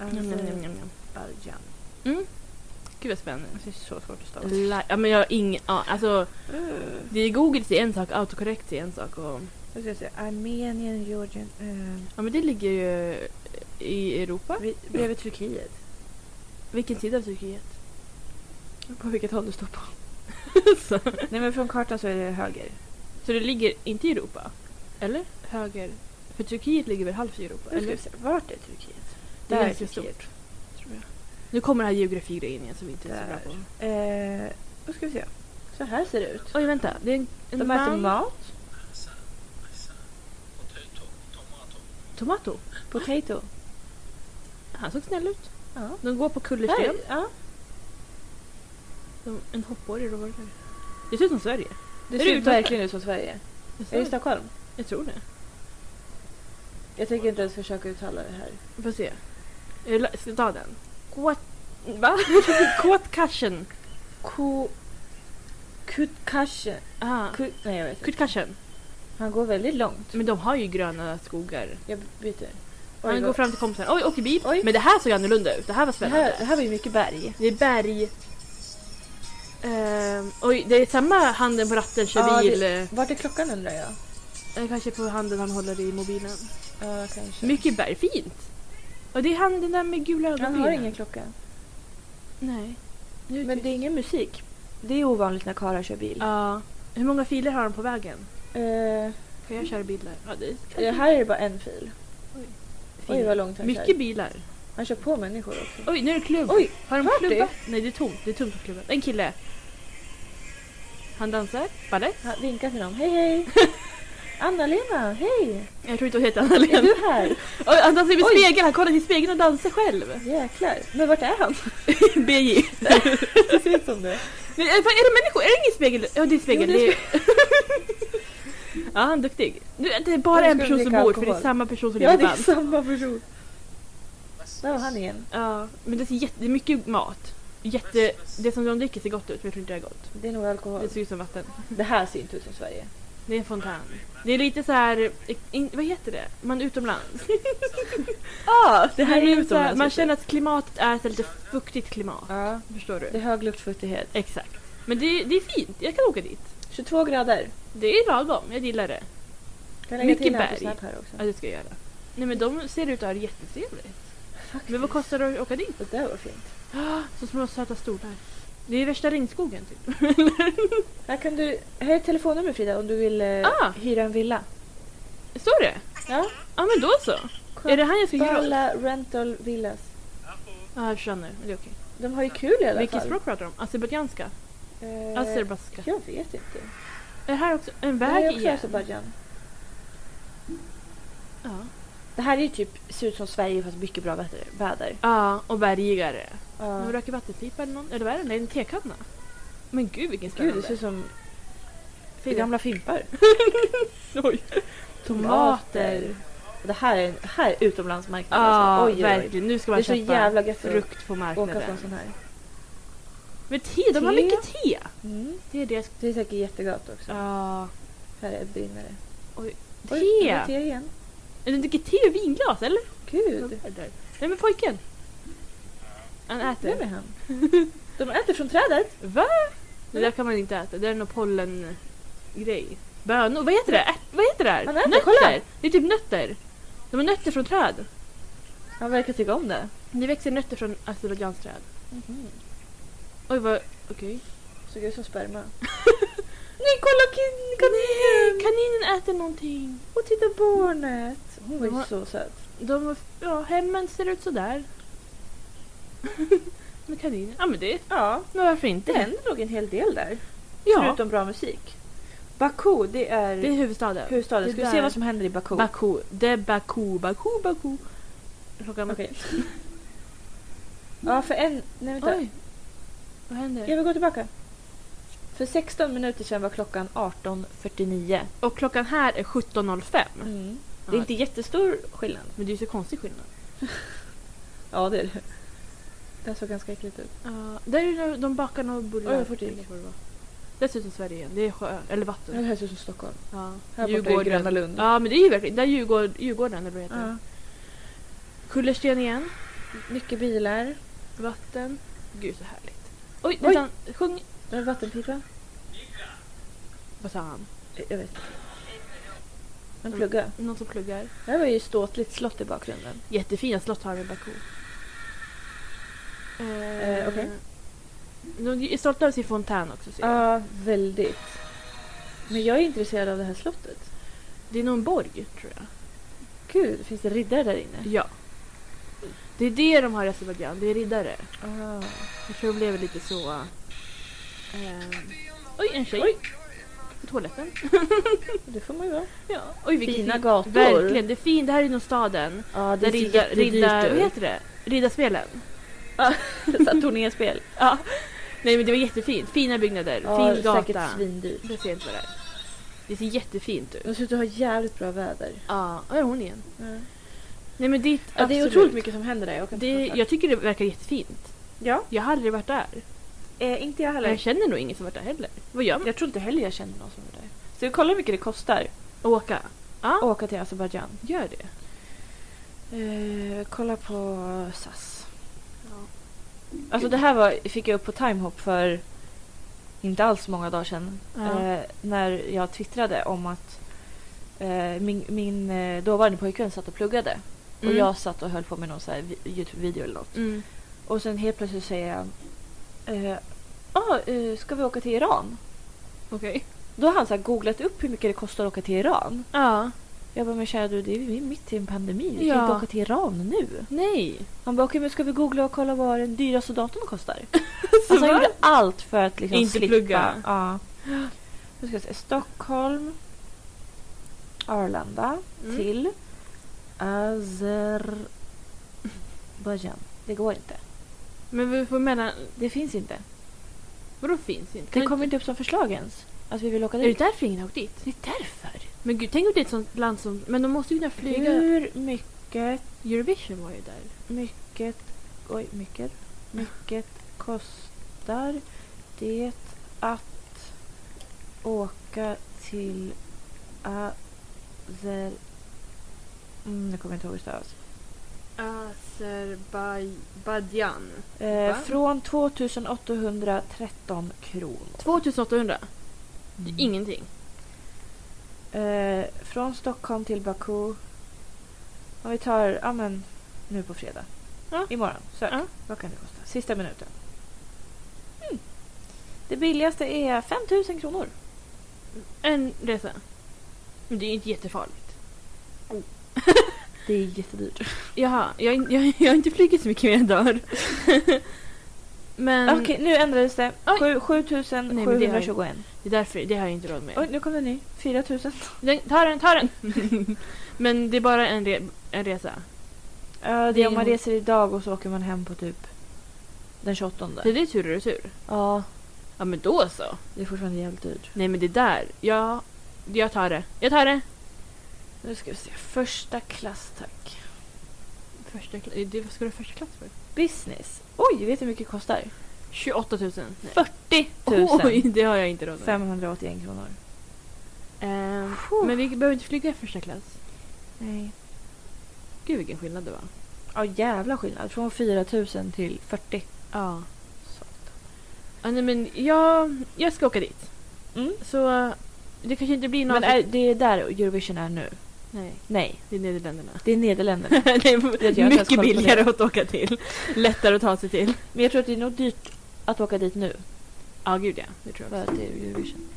[SPEAKER 2] Mm.
[SPEAKER 1] Njam, njam, njam, njam, njam.
[SPEAKER 2] Azerbajdzjan.
[SPEAKER 1] Gud vad spännande.
[SPEAKER 2] Det är så svårt att stava.
[SPEAKER 1] La- Ja, men jag har ingen ja, alltså,
[SPEAKER 2] Uh,
[SPEAKER 1] det är Google till en sak, autocorrect till en sak och...
[SPEAKER 2] vad ska jag säga? Armenien, Georgien. eh,
[SPEAKER 1] Ja, men det ligger ju i Europa.
[SPEAKER 2] vi- bredvid Turkiet.
[SPEAKER 1] Vilken sida av Turkiet? På vilket håll du står på. så,
[SPEAKER 2] Nej men från kartan så är det höger.
[SPEAKER 1] så det ligger inte i Europa? Eller? Höger? För Turkiet ligger väl halvt i Europa?
[SPEAKER 2] Nu ska vi
[SPEAKER 1] Eller?
[SPEAKER 2] se. Vart är Turkiet?
[SPEAKER 1] Det
[SPEAKER 2] Där
[SPEAKER 1] är
[SPEAKER 2] är
[SPEAKER 1] ganska
[SPEAKER 2] Turkiet.
[SPEAKER 1] stort.
[SPEAKER 2] Tror jag.
[SPEAKER 1] Nu kommer den här geografigrejen igen som vi inte är så
[SPEAKER 2] Där.
[SPEAKER 1] bra på.
[SPEAKER 2] Eh, vad ska vi se? Så här ser det ut.
[SPEAKER 1] Oj, vänta. Det är en, en
[SPEAKER 2] De äter
[SPEAKER 1] man.
[SPEAKER 2] mat.
[SPEAKER 1] Tomato. Ah,
[SPEAKER 2] Potato.
[SPEAKER 1] Han såg snäll ut.
[SPEAKER 2] Ja.
[SPEAKER 1] De går på kullersten.
[SPEAKER 2] Här, ja.
[SPEAKER 1] De, en hoppborre då var det där. Det ser ut som Sverige.
[SPEAKER 2] Det
[SPEAKER 1] Är det
[SPEAKER 2] ser
[SPEAKER 1] utanför?
[SPEAKER 2] verkligen ut som Sverige. Är det
[SPEAKER 1] Jag,
[SPEAKER 2] Stockholm?
[SPEAKER 1] jag tror det.
[SPEAKER 2] Jag tänker inte ens försöka uttala det här.
[SPEAKER 1] Får se. Är det la- Staden. Kåt... Va? Kåtkaschen.
[SPEAKER 2] Ko... Kutkashi.
[SPEAKER 1] Ah.
[SPEAKER 2] Ku... Nej, jag vet inte.
[SPEAKER 1] Kutkaschen.
[SPEAKER 2] Han går väldigt långt.
[SPEAKER 1] Men de har ju gröna skogar.
[SPEAKER 2] Jag byter. Oj,
[SPEAKER 1] Han
[SPEAKER 2] vad-
[SPEAKER 1] går fram till kompisen. Oj, åker bil.
[SPEAKER 2] Oj.
[SPEAKER 1] Men det här såg annorlunda ut. Det här var
[SPEAKER 2] Det
[SPEAKER 1] spännande.
[SPEAKER 2] här, det här var ju mycket berg.
[SPEAKER 1] Det är berg. Ehm, oj, det är samma handen på ratten kör
[SPEAKER 2] Ja,
[SPEAKER 1] bil.
[SPEAKER 2] det- Vart är klockan undrar jag?
[SPEAKER 1] Eh, Kanske på handen han håller i mobilen.
[SPEAKER 2] Ja, kanske.
[SPEAKER 1] Mycket berg. Fint! Och det är han den där med gula
[SPEAKER 2] Han
[SPEAKER 1] ögonbrynen.
[SPEAKER 2] har ingen klocka.
[SPEAKER 1] Nej. Nu
[SPEAKER 2] Men det är ingen musik. Det är ovanligt när karlar kör bil.
[SPEAKER 1] Ja. Hur många filer har han på vägen?
[SPEAKER 2] Eh,
[SPEAKER 1] För jag kör bilar. Ja, det är kanske
[SPEAKER 2] ja, här är det bara en fil. Oj,
[SPEAKER 1] fint.
[SPEAKER 2] vad långt han
[SPEAKER 1] Mycket
[SPEAKER 2] kör.
[SPEAKER 1] bilar.
[SPEAKER 2] Han kör på människor också.
[SPEAKER 1] Oj, nu är det klubb.
[SPEAKER 2] Oj,
[SPEAKER 1] har de
[SPEAKER 2] vart är
[SPEAKER 1] klubbat? Nej, det är tomt. Det är tomt på klubben. En kille. Han dansar. Balett.
[SPEAKER 2] Han vinkar till dem. Hej, hej! Anna-Lena, hej!
[SPEAKER 1] Jag tror inte hon heter
[SPEAKER 2] Är
[SPEAKER 1] Anna-Lena.
[SPEAKER 2] du här?
[SPEAKER 1] Oj, han dansar i
[SPEAKER 2] Oj.
[SPEAKER 1] spegeln, han kollar i spegeln och dansar själv.
[SPEAKER 2] Jäklar. Men vart är han?
[SPEAKER 1] BJ.
[SPEAKER 2] Det ser ut som det.
[SPEAKER 1] Men, eh, vad är det människor? Är det ingen spegel? Ja, det är spegel.
[SPEAKER 2] Jo, det är
[SPEAKER 1] det är... ja, han är duktig. Du, det är bara
[SPEAKER 2] Nu
[SPEAKER 1] en
[SPEAKER 2] ska vi
[SPEAKER 1] person som
[SPEAKER 2] dricka
[SPEAKER 1] bor, för det är
[SPEAKER 2] alkohol.
[SPEAKER 1] samma person som
[SPEAKER 2] Ja,
[SPEAKER 1] ligger
[SPEAKER 2] det är
[SPEAKER 1] band.
[SPEAKER 2] samma person. Där var han igen.
[SPEAKER 1] Ja, men det är jätte, det är mycket mat. Jätte, det som de dricker ser gott ut, men jag tror inte det är gott.
[SPEAKER 2] Det är nog alkohol.
[SPEAKER 1] Det ser ut som vatten.
[SPEAKER 2] Det här ser inte ut som Sverige.
[SPEAKER 1] Det är en fontän. Det är lite så här, in, vad heter det? Man är utomlands.
[SPEAKER 2] Ah, det
[SPEAKER 1] Man
[SPEAKER 2] här är
[SPEAKER 1] är
[SPEAKER 2] ju så här-
[SPEAKER 1] utomlands. Man känner att klimatet är så lite fuktigt klimat.
[SPEAKER 2] Ja,
[SPEAKER 1] Förstår
[SPEAKER 2] det
[SPEAKER 1] du?
[SPEAKER 2] är hög luftfuktighet.
[SPEAKER 1] Exakt. Men det, det är fint, jag kan åka dit.
[SPEAKER 2] 22 grader.
[SPEAKER 1] Det är lagom, jag gillar det.
[SPEAKER 2] Kan lägga
[SPEAKER 1] Mycket
[SPEAKER 2] till en
[SPEAKER 1] berg.
[SPEAKER 2] snap här också.
[SPEAKER 1] Ja, det ska jag göra. Nej men de ser ut att ha det jättetrevligt.
[SPEAKER 2] Faktiskt.
[SPEAKER 1] Men vad kostar det att åka dit?
[SPEAKER 2] Det där var fint.
[SPEAKER 1] Ah, Så små söta stolar. Det är värsta regnskogen typ.
[SPEAKER 2] Här, kan du, här är ett telefonnummer Frida om du vill eh,
[SPEAKER 1] Ah.
[SPEAKER 2] hyra en villa.
[SPEAKER 1] Står det?
[SPEAKER 2] Ja.
[SPEAKER 1] Ja men då så. Är det han jag ska hyra åt? Ja,
[SPEAKER 2] Balla Rental Villas.
[SPEAKER 1] jag förstår nu. Men Det är okej.
[SPEAKER 2] De har ju kul i alla
[SPEAKER 1] Vilket
[SPEAKER 2] fall.
[SPEAKER 1] språk Alltså, pratar de? Azerbajdzjanska?
[SPEAKER 2] Eh,
[SPEAKER 1] Azerbajdzjanska.
[SPEAKER 2] Jag vet inte.
[SPEAKER 1] Är det här också en
[SPEAKER 2] Det här
[SPEAKER 1] väg
[SPEAKER 2] är också
[SPEAKER 1] igen?
[SPEAKER 2] Azerbajdzjan.
[SPEAKER 1] Ja.
[SPEAKER 2] Det här är ju typ, ser ut som Sverige fast mycket bra väder. väder.
[SPEAKER 1] Ja, och bergigare.
[SPEAKER 2] Ja.
[SPEAKER 1] De röker vattenpipa eller någon. Eller vad är det? Nej, en tekanna. Men gud vilken
[SPEAKER 2] Gud,
[SPEAKER 1] spännande.
[SPEAKER 2] det ser ut som
[SPEAKER 1] Fy,
[SPEAKER 2] gamla fimpar.
[SPEAKER 1] Oj. Tomater.
[SPEAKER 2] Och Det här är, här är utomlandsmarknad.
[SPEAKER 1] Ja,
[SPEAKER 2] alltså. Oj, oj, oj.
[SPEAKER 1] verkligen. Nu ska
[SPEAKER 2] Det
[SPEAKER 1] man
[SPEAKER 2] är så
[SPEAKER 1] köpa
[SPEAKER 2] jävla gött att
[SPEAKER 1] frukt på
[SPEAKER 2] åka på
[SPEAKER 1] marknaden.
[SPEAKER 2] en sån här.
[SPEAKER 1] Men te, de har
[SPEAKER 2] Te.
[SPEAKER 1] mycket te.
[SPEAKER 2] Mm.
[SPEAKER 1] Det är deras...
[SPEAKER 2] Det är säkert jättegott också.
[SPEAKER 1] Ja.
[SPEAKER 2] Här är brinnare. Oj, nu
[SPEAKER 1] te!
[SPEAKER 2] är det te igen.
[SPEAKER 1] Eller dricker te och vinglas, eller?
[SPEAKER 2] Gud.
[SPEAKER 1] Nej men pojken. Han
[SPEAKER 2] Vem är
[SPEAKER 1] äter.
[SPEAKER 2] han? De äter från trädet.
[SPEAKER 1] Va? Det där kan man inte äta. Det är någon pollen-grej. Bönor. Vad heter det? Ärt- vad heter det här?
[SPEAKER 2] Han äter,
[SPEAKER 1] nötter!
[SPEAKER 2] kolla!
[SPEAKER 1] Det är typ nötter. De har nötter från träd.
[SPEAKER 2] Han verkar tycka om det.
[SPEAKER 1] Det växer nötter från Azerbajdzjans träd. Oj vad... Okej.
[SPEAKER 2] Mhm. Såg ut som sperma.
[SPEAKER 1] Nej kolla kan- kaninen! Kaninen äter någonting.
[SPEAKER 2] Och titta barnet! Hon var
[SPEAKER 1] De har-
[SPEAKER 2] ju så söt.
[SPEAKER 1] De... Ja, hemmen ser ut sådär. men kaninen... Ja men det...
[SPEAKER 2] Ja,
[SPEAKER 1] Men varför
[SPEAKER 2] det
[SPEAKER 1] inte?
[SPEAKER 2] händer nog en hel del där.
[SPEAKER 1] Ja.
[SPEAKER 2] Förutom bra musik. Baku, det är
[SPEAKER 1] Det är huvudstaden.
[SPEAKER 2] huvudstaden.
[SPEAKER 1] det
[SPEAKER 2] Ska vi
[SPEAKER 1] där-
[SPEAKER 2] se vad som händer i Baku?
[SPEAKER 1] Baku. Det är Baku, Baku, Baku. Klockan
[SPEAKER 2] Okej.
[SPEAKER 3] Ja, för en... Nej, vänta.
[SPEAKER 2] Oj! Vad händer?
[SPEAKER 3] Jag vill gå tillbaka. För 16 minuter sedan var klockan 18.49.
[SPEAKER 1] Och klockan här är 17.05.
[SPEAKER 3] Mm.
[SPEAKER 2] Det är inte jättestor skillnad.
[SPEAKER 1] Men det är ju så konstig skillnad.
[SPEAKER 3] Ja, det är det. Det såg ganska äckligt ut.
[SPEAKER 1] Uh, där är det när de bakar någon bullar.
[SPEAKER 3] Oj, jag får till.
[SPEAKER 1] eller vad det var. Dessutom Sverige igen. Det är sjö, eller vatten.
[SPEAKER 3] Det här ser ut som Stockholm.
[SPEAKER 1] Ja.
[SPEAKER 3] Här borta i
[SPEAKER 1] Djurgården.
[SPEAKER 3] Gröna Lund.
[SPEAKER 1] Ja men det är ju verkligen, där är Djurgården, Djurgården eller vad det heter.
[SPEAKER 3] Ja.
[SPEAKER 1] Kullersten igen.
[SPEAKER 3] Mycket bilar.
[SPEAKER 1] Vatten. Gud så härligt. Oj,
[SPEAKER 3] Oj.
[SPEAKER 1] vänta. Sjung.
[SPEAKER 3] Där är vattenpipa.
[SPEAKER 1] Vad sa han?
[SPEAKER 3] Eh, Jag vet. Men plugga.
[SPEAKER 1] Någon som pluggar.
[SPEAKER 3] Det här var ju ståtligt slott i bakgrunden.
[SPEAKER 1] Jättefina slott har de i Baku.
[SPEAKER 3] Eh, okej.
[SPEAKER 1] De är stolta över sin fontän också. ser jag.
[SPEAKER 3] Ja, väldigt. Men jag är intresserad av det här slottet.
[SPEAKER 1] Det är nog en borg tror jag.
[SPEAKER 3] Gud, finns det riddare där inne?
[SPEAKER 1] Ja. Det är det de har i Azerbajdzjan, det är riddare.
[SPEAKER 3] Ah.
[SPEAKER 1] Jag tror det blev lite så... ehm, Oj, en tjej!
[SPEAKER 3] Oj.
[SPEAKER 1] På toaletten.
[SPEAKER 3] Det får man ju vara.
[SPEAKER 1] Ja. Oj, vilken
[SPEAKER 3] Fina
[SPEAKER 1] fin-
[SPEAKER 3] gator.
[SPEAKER 1] Verkligen, det är fint. Det här är inom staden.
[SPEAKER 3] Ja,
[SPEAKER 1] Där
[SPEAKER 2] typ
[SPEAKER 1] riddar... riddar vad heter det? Riddarspelen.
[SPEAKER 3] det? Turnéspel.
[SPEAKER 1] Ja. Nej men det var jättefint. Fina byggnader,
[SPEAKER 3] Ja,
[SPEAKER 1] fin
[SPEAKER 3] säkert
[SPEAKER 1] gata.
[SPEAKER 3] svindyrt.
[SPEAKER 1] Jag ser inte vad det är. Det ser jättefint ut.
[SPEAKER 3] De ser ut att ha jävligt bra väder.
[SPEAKER 1] Ja, där är hon igen. Nej men ditt,
[SPEAKER 3] Ja, det är
[SPEAKER 1] absolut.
[SPEAKER 3] otroligt mycket som händer där. Jag kan
[SPEAKER 1] Det, jag tycker det verkar jättefint.
[SPEAKER 3] ja.
[SPEAKER 1] Jag har aldrig varit där.
[SPEAKER 3] Eh, inte jag
[SPEAKER 1] Jag känner nog ingen som varit där heller. Vad gör man?
[SPEAKER 3] Jag tror inte heller jag kände någon som var där. Så vi kollar hur mycket det kostar
[SPEAKER 1] Åka?
[SPEAKER 3] att
[SPEAKER 1] Ja,
[SPEAKER 3] åka till Azerbajdzjan.
[SPEAKER 1] gör det.
[SPEAKER 3] Eh, kolla på SAS. Alltså det här var, fick jag upp på Timehop för inte alls många dagar sedan.
[SPEAKER 1] Ja.
[SPEAKER 3] Eh, när jag twittrade om att eh, min, min eh, dåvarande pojkvän satt och pluggade. Och
[SPEAKER 1] Mm.
[SPEAKER 3] jag satt och höll på med någon så här vi- Youtube-video eller något.
[SPEAKER 1] Mm.
[SPEAKER 3] Och sen helt plötsligt säger han eh, ah, eh, ska vi åka till Iran?
[SPEAKER 1] Okej.
[SPEAKER 3] Då har han så här googlat upp hur mycket det kostar att åka till Iran.
[SPEAKER 1] Ja.
[SPEAKER 3] Jag bara, men kära du, det är ju mitt i en pandemi. Vi kan
[SPEAKER 1] Ja.
[SPEAKER 3] inte åka till Iran nu.
[SPEAKER 1] Nej.
[SPEAKER 3] Han bara, okej men ska vi googla och kolla vad den dyraste datorn kostar? alltså han
[SPEAKER 1] va?
[SPEAKER 3] gjorde allt för att liksom
[SPEAKER 1] Inte
[SPEAKER 3] slippa.
[SPEAKER 1] plugga.
[SPEAKER 3] Ja. Nu ska jag se, Stockholm. Arlanda
[SPEAKER 1] Mm.
[SPEAKER 3] till Azerbajdzjan. Det går inte.
[SPEAKER 1] Men vi får mellan...
[SPEAKER 3] Det finns inte.
[SPEAKER 1] Vadå finns inte?
[SPEAKER 3] Det
[SPEAKER 1] Kan
[SPEAKER 3] kommer inte upp som förslag ens. Att vi vill åka
[SPEAKER 1] Är det
[SPEAKER 3] dit.
[SPEAKER 1] därför ingen har åkt dit?
[SPEAKER 3] Det är därför.
[SPEAKER 1] Men gud, tänk om det är ett sånt land som... Men de måste ju kunna flyga.
[SPEAKER 3] Hur mycket,
[SPEAKER 1] Eurovision var ju där.
[SPEAKER 3] mycket, oj, mycket, mycket kostar det att åka till Azer... Mm, nu kommer jag inte ihåg hur det stavas.
[SPEAKER 1] Azerbajdzjan.
[SPEAKER 3] Eh,
[SPEAKER 1] Va?
[SPEAKER 3] från 2813 kronor.
[SPEAKER 1] 2800.
[SPEAKER 3] Mm.
[SPEAKER 1] Det är ingenting.
[SPEAKER 3] Eh, från Stockholm till Baku. Om vi tar, ja men nu på fredag.
[SPEAKER 1] Ja.
[SPEAKER 3] Imorgon. Sök.
[SPEAKER 1] Ja.
[SPEAKER 3] Vad kan det kosta? Sista minuten. Mm. Det billigaste är 5 000 kronor.
[SPEAKER 1] En resa. Men det är ju inte jättefarligt.
[SPEAKER 3] Det är jättedyrt.
[SPEAKER 1] Jaha, jag, har in- jag, jag har inte flugit så mycket mer än dagar. men
[SPEAKER 3] Okej, nu ändrades det.
[SPEAKER 1] Oj.
[SPEAKER 3] Sju- 7
[SPEAKER 1] Nej, men det har
[SPEAKER 3] 721.
[SPEAKER 1] det är därför, det har jag inte råd med.
[SPEAKER 3] Oj, nu kom det en ny. 4 000.
[SPEAKER 1] Den, ta den, ta den! men det är bara en, re, en resa.
[SPEAKER 3] Ja, det
[SPEAKER 1] Det
[SPEAKER 3] är
[SPEAKER 1] är
[SPEAKER 3] om man
[SPEAKER 1] hon-
[SPEAKER 3] reser idag och så åker man hem på typ den 28.
[SPEAKER 1] Så det är tur och retur.
[SPEAKER 3] Ja,
[SPEAKER 1] Ja men då så.
[SPEAKER 3] det är fortfarande jävligt dyrt.
[SPEAKER 1] Nej men det där, ja. Jag tar det. Jag tar det!
[SPEAKER 3] Nu ska vi se. Första klass tack.
[SPEAKER 1] Första klass, det, vad ska du ha första klass för?
[SPEAKER 3] Business. Oj, vet du hur mycket det kostar?
[SPEAKER 1] 28 000. Nej.
[SPEAKER 3] 40
[SPEAKER 1] Oj, det har jag inte råd med.
[SPEAKER 3] 581 kronor.
[SPEAKER 1] Ehm,
[SPEAKER 3] Puh.
[SPEAKER 1] men vi behöver inte flyga i första klass.
[SPEAKER 3] Nej.
[SPEAKER 1] Gud vilken skillnad det var.
[SPEAKER 3] Ja, jävla skillnad. Från 4 000 till 40.
[SPEAKER 1] Ja. ja nej, men jag, jag ska åka dit.
[SPEAKER 3] Mm.
[SPEAKER 1] Så eh, det kanske inte blir någon...
[SPEAKER 3] Men är, det är där Eurovision är nu.
[SPEAKER 1] Nej,
[SPEAKER 3] Nej,
[SPEAKER 1] det är Nederländerna.
[SPEAKER 3] det är Nederländerna.
[SPEAKER 1] det är
[SPEAKER 3] jag inte ens koll
[SPEAKER 1] mycket
[SPEAKER 3] på
[SPEAKER 1] billigare att åka till. Lättare att ta sig till.
[SPEAKER 3] Men jag tror att det är nog dyrt att åka dit nu.
[SPEAKER 1] Ja, gud ja. Det tror
[SPEAKER 3] För
[SPEAKER 1] jag. också.
[SPEAKER 3] att det är Eurovision.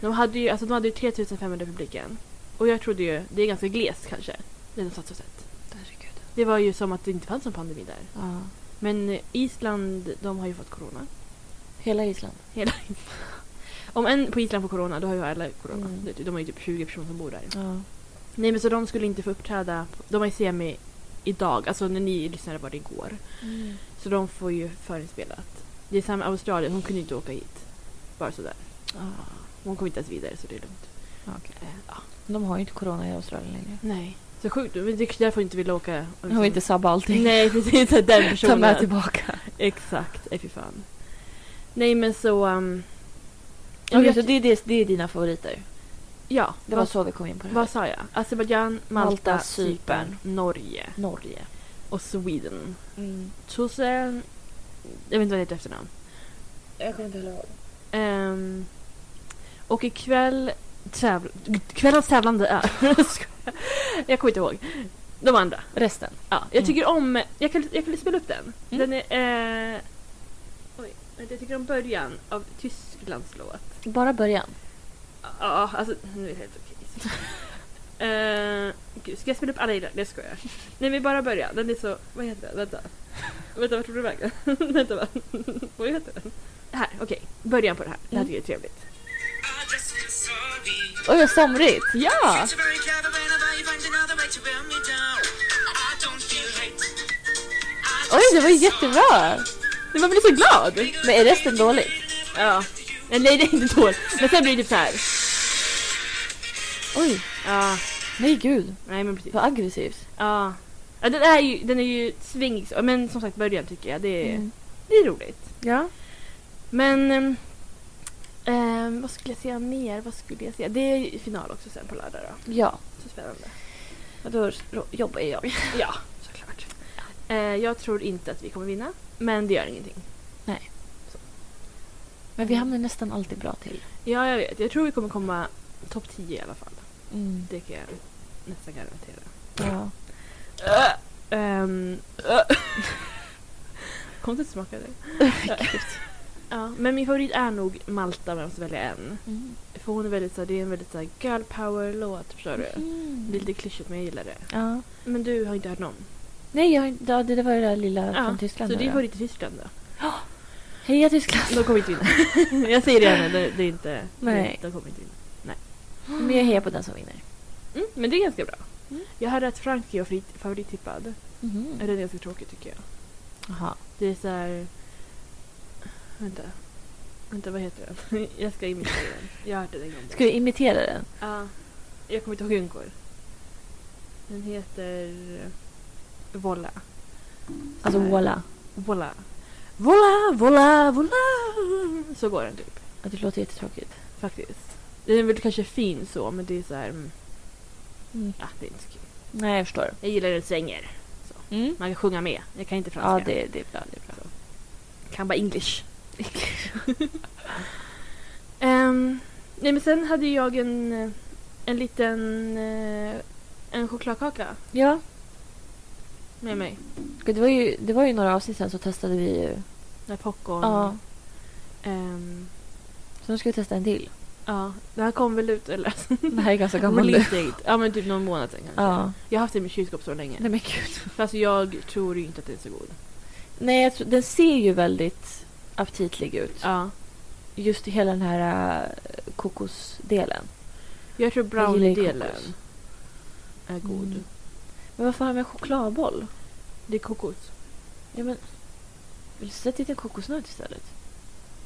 [SPEAKER 1] De hade ju, alltså, de hade ju 3500 i publiken. Och jag trodde ju, det är ganska glest kanske. Det de satt så sett.
[SPEAKER 3] Herregud.
[SPEAKER 1] Det var ju som att det inte fanns någon pandemi där.
[SPEAKER 3] Ja.
[SPEAKER 1] Men eh, Island, de har ju fått corona.
[SPEAKER 3] Hela Island.
[SPEAKER 1] Hela Island. Om en på Island får corona, då har ju alla corona.
[SPEAKER 3] Mm.
[SPEAKER 1] Det- De har ju typ 20 personer som bor där.
[SPEAKER 3] Ja.
[SPEAKER 1] Nej men så de
[SPEAKER 3] Mm.
[SPEAKER 1] skulle inte få uppträda, de var i semi idag, alltså när ni lyssnade var det igår. Så Så de får ju förinspelat. Det är samma Australien, hon kunde inte åka hit. Bara sådär. Hon kom inte ens vidare så det är lugnt. Eh.
[SPEAKER 3] De har ju inte corona i Australien längre.
[SPEAKER 1] Nej. Så sjukt, men det är därför hon inte ville åka. Och
[SPEAKER 3] De vill inte sabba allting.
[SPEAKER 1] Nej precis, att den
[SPEAKER 3] Ta
[SPEAKER 1] personen.
[SPEAKER 3] med tillbaka.
[SPEAKER 1] Exakt, nej fy fan. Nej men så... Um,
[SPEAKER 3] Okej, så det är, det, det är dina favoriter.
[SPEAKER 1] ja,
[SPEAKER 3] Det var
[SPEAKER 1] vad,
[SPEAKER 3] så vi kom in på det här.
[SPEAKER 1] vad sa jag? Azerbajdzjan, Malta,
[SPEAKER 3] Malta,
[SPEAKER 1] Cypern, Norge
[SPEAKER 3] Norge.
[SPEAKER 1] och Sweden.
[SPEAKER 3] Mm.
[SPEAKER 1] Tusen... Jag vet inte vad det heter i efternamn.
[SPEAKER 2] Jag kommer inte heller ihåg.
[SPEAKER 1] Ehm, och ikväll... Tävl- kvällens tävlande är... Jag skojar. jag kommer inte ihåg. De andra.
[SPEAKER 3] Resten.
[SPEAKER 1] Ja, jag
[SPEAKER 3] Mm.
[SPEAKER 1] tycker om... Jag kan, jag kan spela upp den.
[SPEAKER 3] Mm.
[SPEAKER 1] Den är... Eh, oj, vänta, jag tycker om början av Tysklands låt.
[SPEAKER 3] Bara början.
[SPEAKER 1] Ja, alltså nu är det helt okej. Eh, gud, ska jag spela upp alla i den? Det ska jag. Nej men bara börja. Den är så, vad heter den? Vänta. Vänta, vart tog du vägen? Vänta va? Vad heter den? Här, okej. Början på det här. Det här
[SPEAKER 3] Mm.
[SPEAKER 1] tycker jag är trevligt.
[SPEAKER 3] Oj, vad somrigt!
[SPEAKER 1] Ja!
[SPEAKER 3] Oj, det var ju jättebra!
[SPEAKER 1] Men man blir så glad!
[SPEAKER 3] Men är resten dåligt?
[SPEAKER 1] Ja. Nej, nej det är inte dåligt. Men sen blir det typ så här.
[SPEAKER 3] Oj,
[SPEAKER 1] Ja.
[SPEAKER 3] nej gud.
[SPEAKER 1] Nej men precis.
[SPEAKER 3] Vad aggressivt.
[SPEAKER 1] Ja. ja den, är ju, den är ju svingig. så- Men som sagt början tycker jag. Det är,
[SPEAKER 3] Mm.
[SPEAKER 1] det är roligt.
[SPEAKER 3] Ja.
[SPEAKER 1] Men ehm, ehm, vad skulle jag säga mer? Vad skulle jag säga? Det är ju final också sen på lördag då.
[SPEAKER 3] Ja.
[SPEAKER 1] Så spännande.
[SPEAKER 3] Och då ro- jobbar ju jag.
[SPEAKER 1] Ja, såklart. Eh, jag tror inte att vi kommer vinna, men det gör ingenting.
[SPEAKER 3] Men vi hamnar nästan alltid bra till.
[SPEAKER 1] Ja, jag vet. Jag tror vi kommer komma topp 10 i alla fall. Det kan jag nästan garantera.
[SPEAKER 3] Ja. Äh.
[SPEAKER 1] Um, Konstigt smakade det. Ja, men min favorit är nog Malta om jag måste välja en.
[SPEAKER 3] Mm.
[SPEAKER 1] För hon är väldigt så här, det är en väldigt så här girl power-låt, förstår du?
[SPEAKER 3] Mhm.
[SPEAKER 1] Det är lite klyschigt men jag gillar det.
[SPEAKER 3] Mm. Ja.
[SPEAKER 1] Men du har inte hört någon?
[SPEAKER 3] Nej, jag, har inte- ja, det där var det där lilla
[SPEAKER 1] Ja,
[SPEAKER 3] från Tyskland.
[SPEAKER 1] Så
[SPEAKER 3] där
[SPEAKER 1] det
[SPEAKER 3] då.
[SPEAKER 1] var till Tyskland då?
[SPEAKER 3] Heja Tyskland!
[SPEAKER 1] De kommer inte vinna. jag säger det gärna, det, det är inte...
[SPEAKER 3] Nej.
[SPEAKER 1] De kommer inte vinna.
[SPEAKER 3] Men jag hejar på den som vinner.
[SPEAKER 1] Mm, men det är ganska bra.
[SPEAKER 3] Mm.
[SPEAKER 1] Jag hörde att Frankrike var frit- favorittippad. Det är ganska tråkigt tycker jag.
[SPEAKER 3] Jaha.
[SPEAKER 1] Det är så här... Vänta. Vänta, vad heter den? jag ska imitera den. Jag har hört den en gång.
[SPEAKER 3] Ska vi imitera den?
[SPEAKER 1] Ja. jag kommer inte ihåg hur den går. Den heter... Vola.
[SPEAKER 3] Alltså voilà.
[SPEAKER 1] Vola. Vola, vola, vola. Så går den typ.
[SPEAKER 3] Ja, det låter jättetråkigt.
[SPEAKER 1] Faktiskt. Den är väl kanske fin så, men det är så här... mm,
[SPEAKER 3] Mm.
[SPEAKER 1] Ja, det är inte så kul.
[SPEAKER 3] Nej, jag förstår.
[SPEAKER 1] Jag gillar när det svänger. Man kan sjunga med. Mm. Jag kan inte
[SPEAKER 3] Ja,
[SPEAKER 1] franska.
[SPEAKER 3] det, det är bra. Det är bra.
[SPEAKER 1] Kan bara english. Ehm, nej, men sen hade jag en, eh, en liten eh, en chokladkaka
[SPEAKER 3] Ja,
[SPEAKER 1] med mig.
[SPEAKER 3] Gud, det var, ju, det var ju några avsnitt sen så testade vi ju.
[SPEAKER 1] Med popcorn.
[SPEAKER 3] Ja.
[SPEAKER 1] Ehm,
[SPEAKER 3] Så nu ska vi testa en till.
[SPEAKER 1] ja. Det här kom väl ut eller?
[SPEAKER 3] Det här är ganska
[SPEAKER 1] Det var
[SPEAKER 3] gammal nu.
[SPEAKER 1] lite eget. Ja, men typ någon månad sen kanske.
[SPEAKER 3] Ja.
[SPEAKER 1] Jag har haft den i mitt kylskåp så länge.
[SPEAKER 3] Nej men gud.
[SPEAKER 1] För alltså, jag tror ju inte att den är så god.
[SPEAKER 3] Nej, jag tror, den ser ju väldigt aptitlig ut.
[SPEAKER 1] Ja.
[SPEAKER 3] Just hela den här äh, kokosdelen.
[SPEAKER 1] Jag tror
[SPEAKER 3] Jag gillar ju
[SPEAKER 1] brownie-delen
[SPEAKER 3] kokos.
[SPEAKER 1] är god.
[SPEAKER 3] Mm. Men varför har jag en chokladboll?
[SPEAKER 1] Det är kokos.
[SPEAKER 3] Ja men... Vill du sätta dit en kokosnöt istället?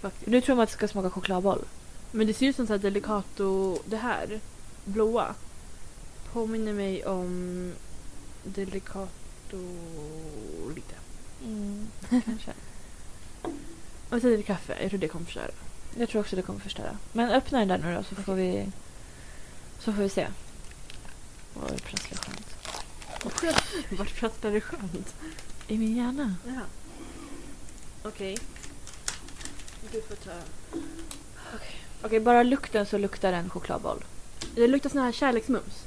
[SPEAKER 1] Faktiskt.
[SPEAKER 3] Nu tror man att det ska smaka chokladboll.
[SPEAKER 1] Men det ser ut som så här Delicato, det här, blåa. Påminner mig om Delicato lite.
[SPEAKER 3] Mm. kanske.
[SPEAKER 1] Och sen är det kaffe, jag tror det kommer förstöra.
[SPEAKER 3] Jag tror också det kommer förstöra. Men öppna den där nu då så får vi... Så får vi se. Åh, det prasslar skönt.
[SPEAKER 1] Vart prasslar det skönt?
[SPEAKER 3] I min hjärna.
[SPEAKER 1] Ja. Okej. Du får ta...
[SPEAKER 3] Okej, bara lukten så luktar en chokladboll.
[SPEAKER 1] Det luktar sån här kärleksmums.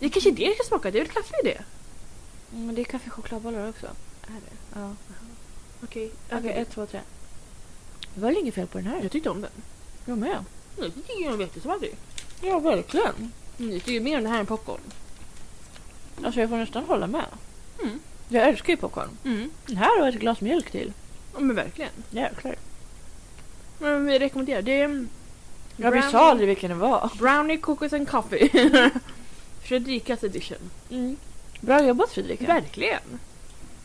[SPEAKER 1] Det kanske är det jag ska smaka, det är väl kaffe i det?
[SPEAKER 3] Mm, Men det är kaffe och chokladbollar också.
[SPEAKER 1] Är det?
[SPEAKER 3] Ja.
[SPEAKER 1] Okej.
[SPEAKER 3] Okej, ett, två, tre. Det var väl inget fel på den här?
[SPEAKER 1] Jag tyckte om den.
[SPEAKER 3] Jag med.
[SPEAKER 1] Jag tycker den var jättesmaskig.
[SPEAKER 3] Ja, verkligen.
[SPEAKER 1] Mm, Jag tycker ju mer om det här än popcorn.
[SPEAKER 3] Alltså jag får nästan hålla med.
[SPEAKER 1] Mm.
[SPEAKER 3] Jag älskar ju popcorn.
[SPEAKER 1] Mm.
[SPEAKER 3] Den här och ett glas mjölk till.
[SPEAKER 1] Ja men verkligen.
[SPEAKER 3] Jäklar.
[SPEAKER 1] Men vi rekommenderar. Det är...
[SPEAKER 3] Ja, vi
[SPEAKER 1] Brownie-
[SPEAKER 3] sa aldrig vilken det var.
[SPEAKER 1] Brownie, cookies and coffee. Fredrikas edition.
[SPEAKER 3] Mm. Bra jobbat Fredrika.
[SPEAKER 1] Verkligen.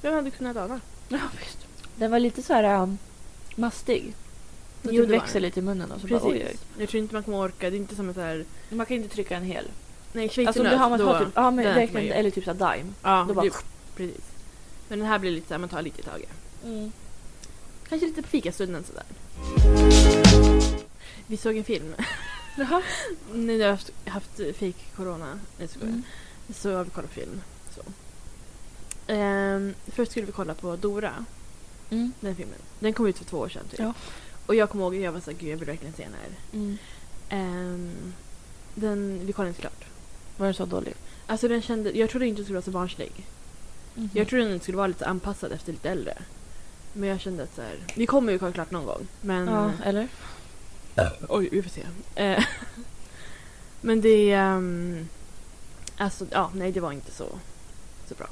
[SPEAKER 1] Vem hade kunnat ana?
[SPEAKER 3] Ja, visst. Den var lite så här um, mastig. Den
[SPEAKER 1] Jo,
[SPEAKER 3] typ
[SPEAKER 1] det var
[SPEAKER 3] växer
[SPEAKER 1] den.
[SPEAKER 3] lite i munnen och så
[SPEAKER 1] Precis.
[SPEAKER 3] bara oj, oj.
[SPEAKER 1] Jag tror inte man kommer orka. Det är inte som ett så här...
[SPEAKER 3] Man kan inte trycka en hel.
[SPEAKER 1] Nej,
[SPEAKER 3] Alltså om
[SPEAKER 1] schweizernöt.
[SPEAKER 3] du har man
[SPEAKER 1] då...
[SPEAKER 3] tar typ, ja, men
[SPEAKER 1] den
[SPEAKER 3] direkt
[SPEAKER 1] får man
[SPEAKER 3] en-
[SPEAKER 1] ju.
[SPEAKER 3] eller typ så här Dime.
[SPEAKER 1] Ja,
[SPEAKER 3] då bara-
[SPEAKER 1] du, precis. Men den här blir lite så här, man tar lite i taget.
[SPEAKER 3] Mm.
[SPEAKER 1] Kanske lite på fikastunden sådär. Vi såg en film.
[SPEAKER 3] Jaha.
[SPEAKER 1] När jag har haft, haft fake corona Nej, skojar.
[SPEAKER 3] Mm.
[SPEAKER 1] Så har vi kollat på film. Så. Ehm, först skulle vi kolla på Dora,
[SPEAKER 3] Mm.
[SPEAKER 1] den filmen. Den kom ut för två år sedan typ.
[SPEAKER 3] Ja.
[SPEAKER 1] Och jag kommer ihåg att jag var såhär, gud jag vill verkligen se den här.
[SPEAKER 3] Mm.
[SPEAKER 1] Ehm, den, vi kollade inte klart.
[SPEAKER 3] Var den så dålig?
[SPEAKER 1] Alltså den kände, jag trodde inte den skulle vara så barnslig.
[SPEAKER 3] Mm-hmm. Mm.
[SPEAKER 1] Jag trodde den skulle vara lite anpassad efter lite äldre. Men jag kände att så här, vi kommer ju kolla klart någon gång. Men
[SPEAKER 3] Ja, eller?
[SPEAKER 1] Oj, vi får se. Eh, Men det... ehm, alltså, ja, nej, det var inte så, så bra.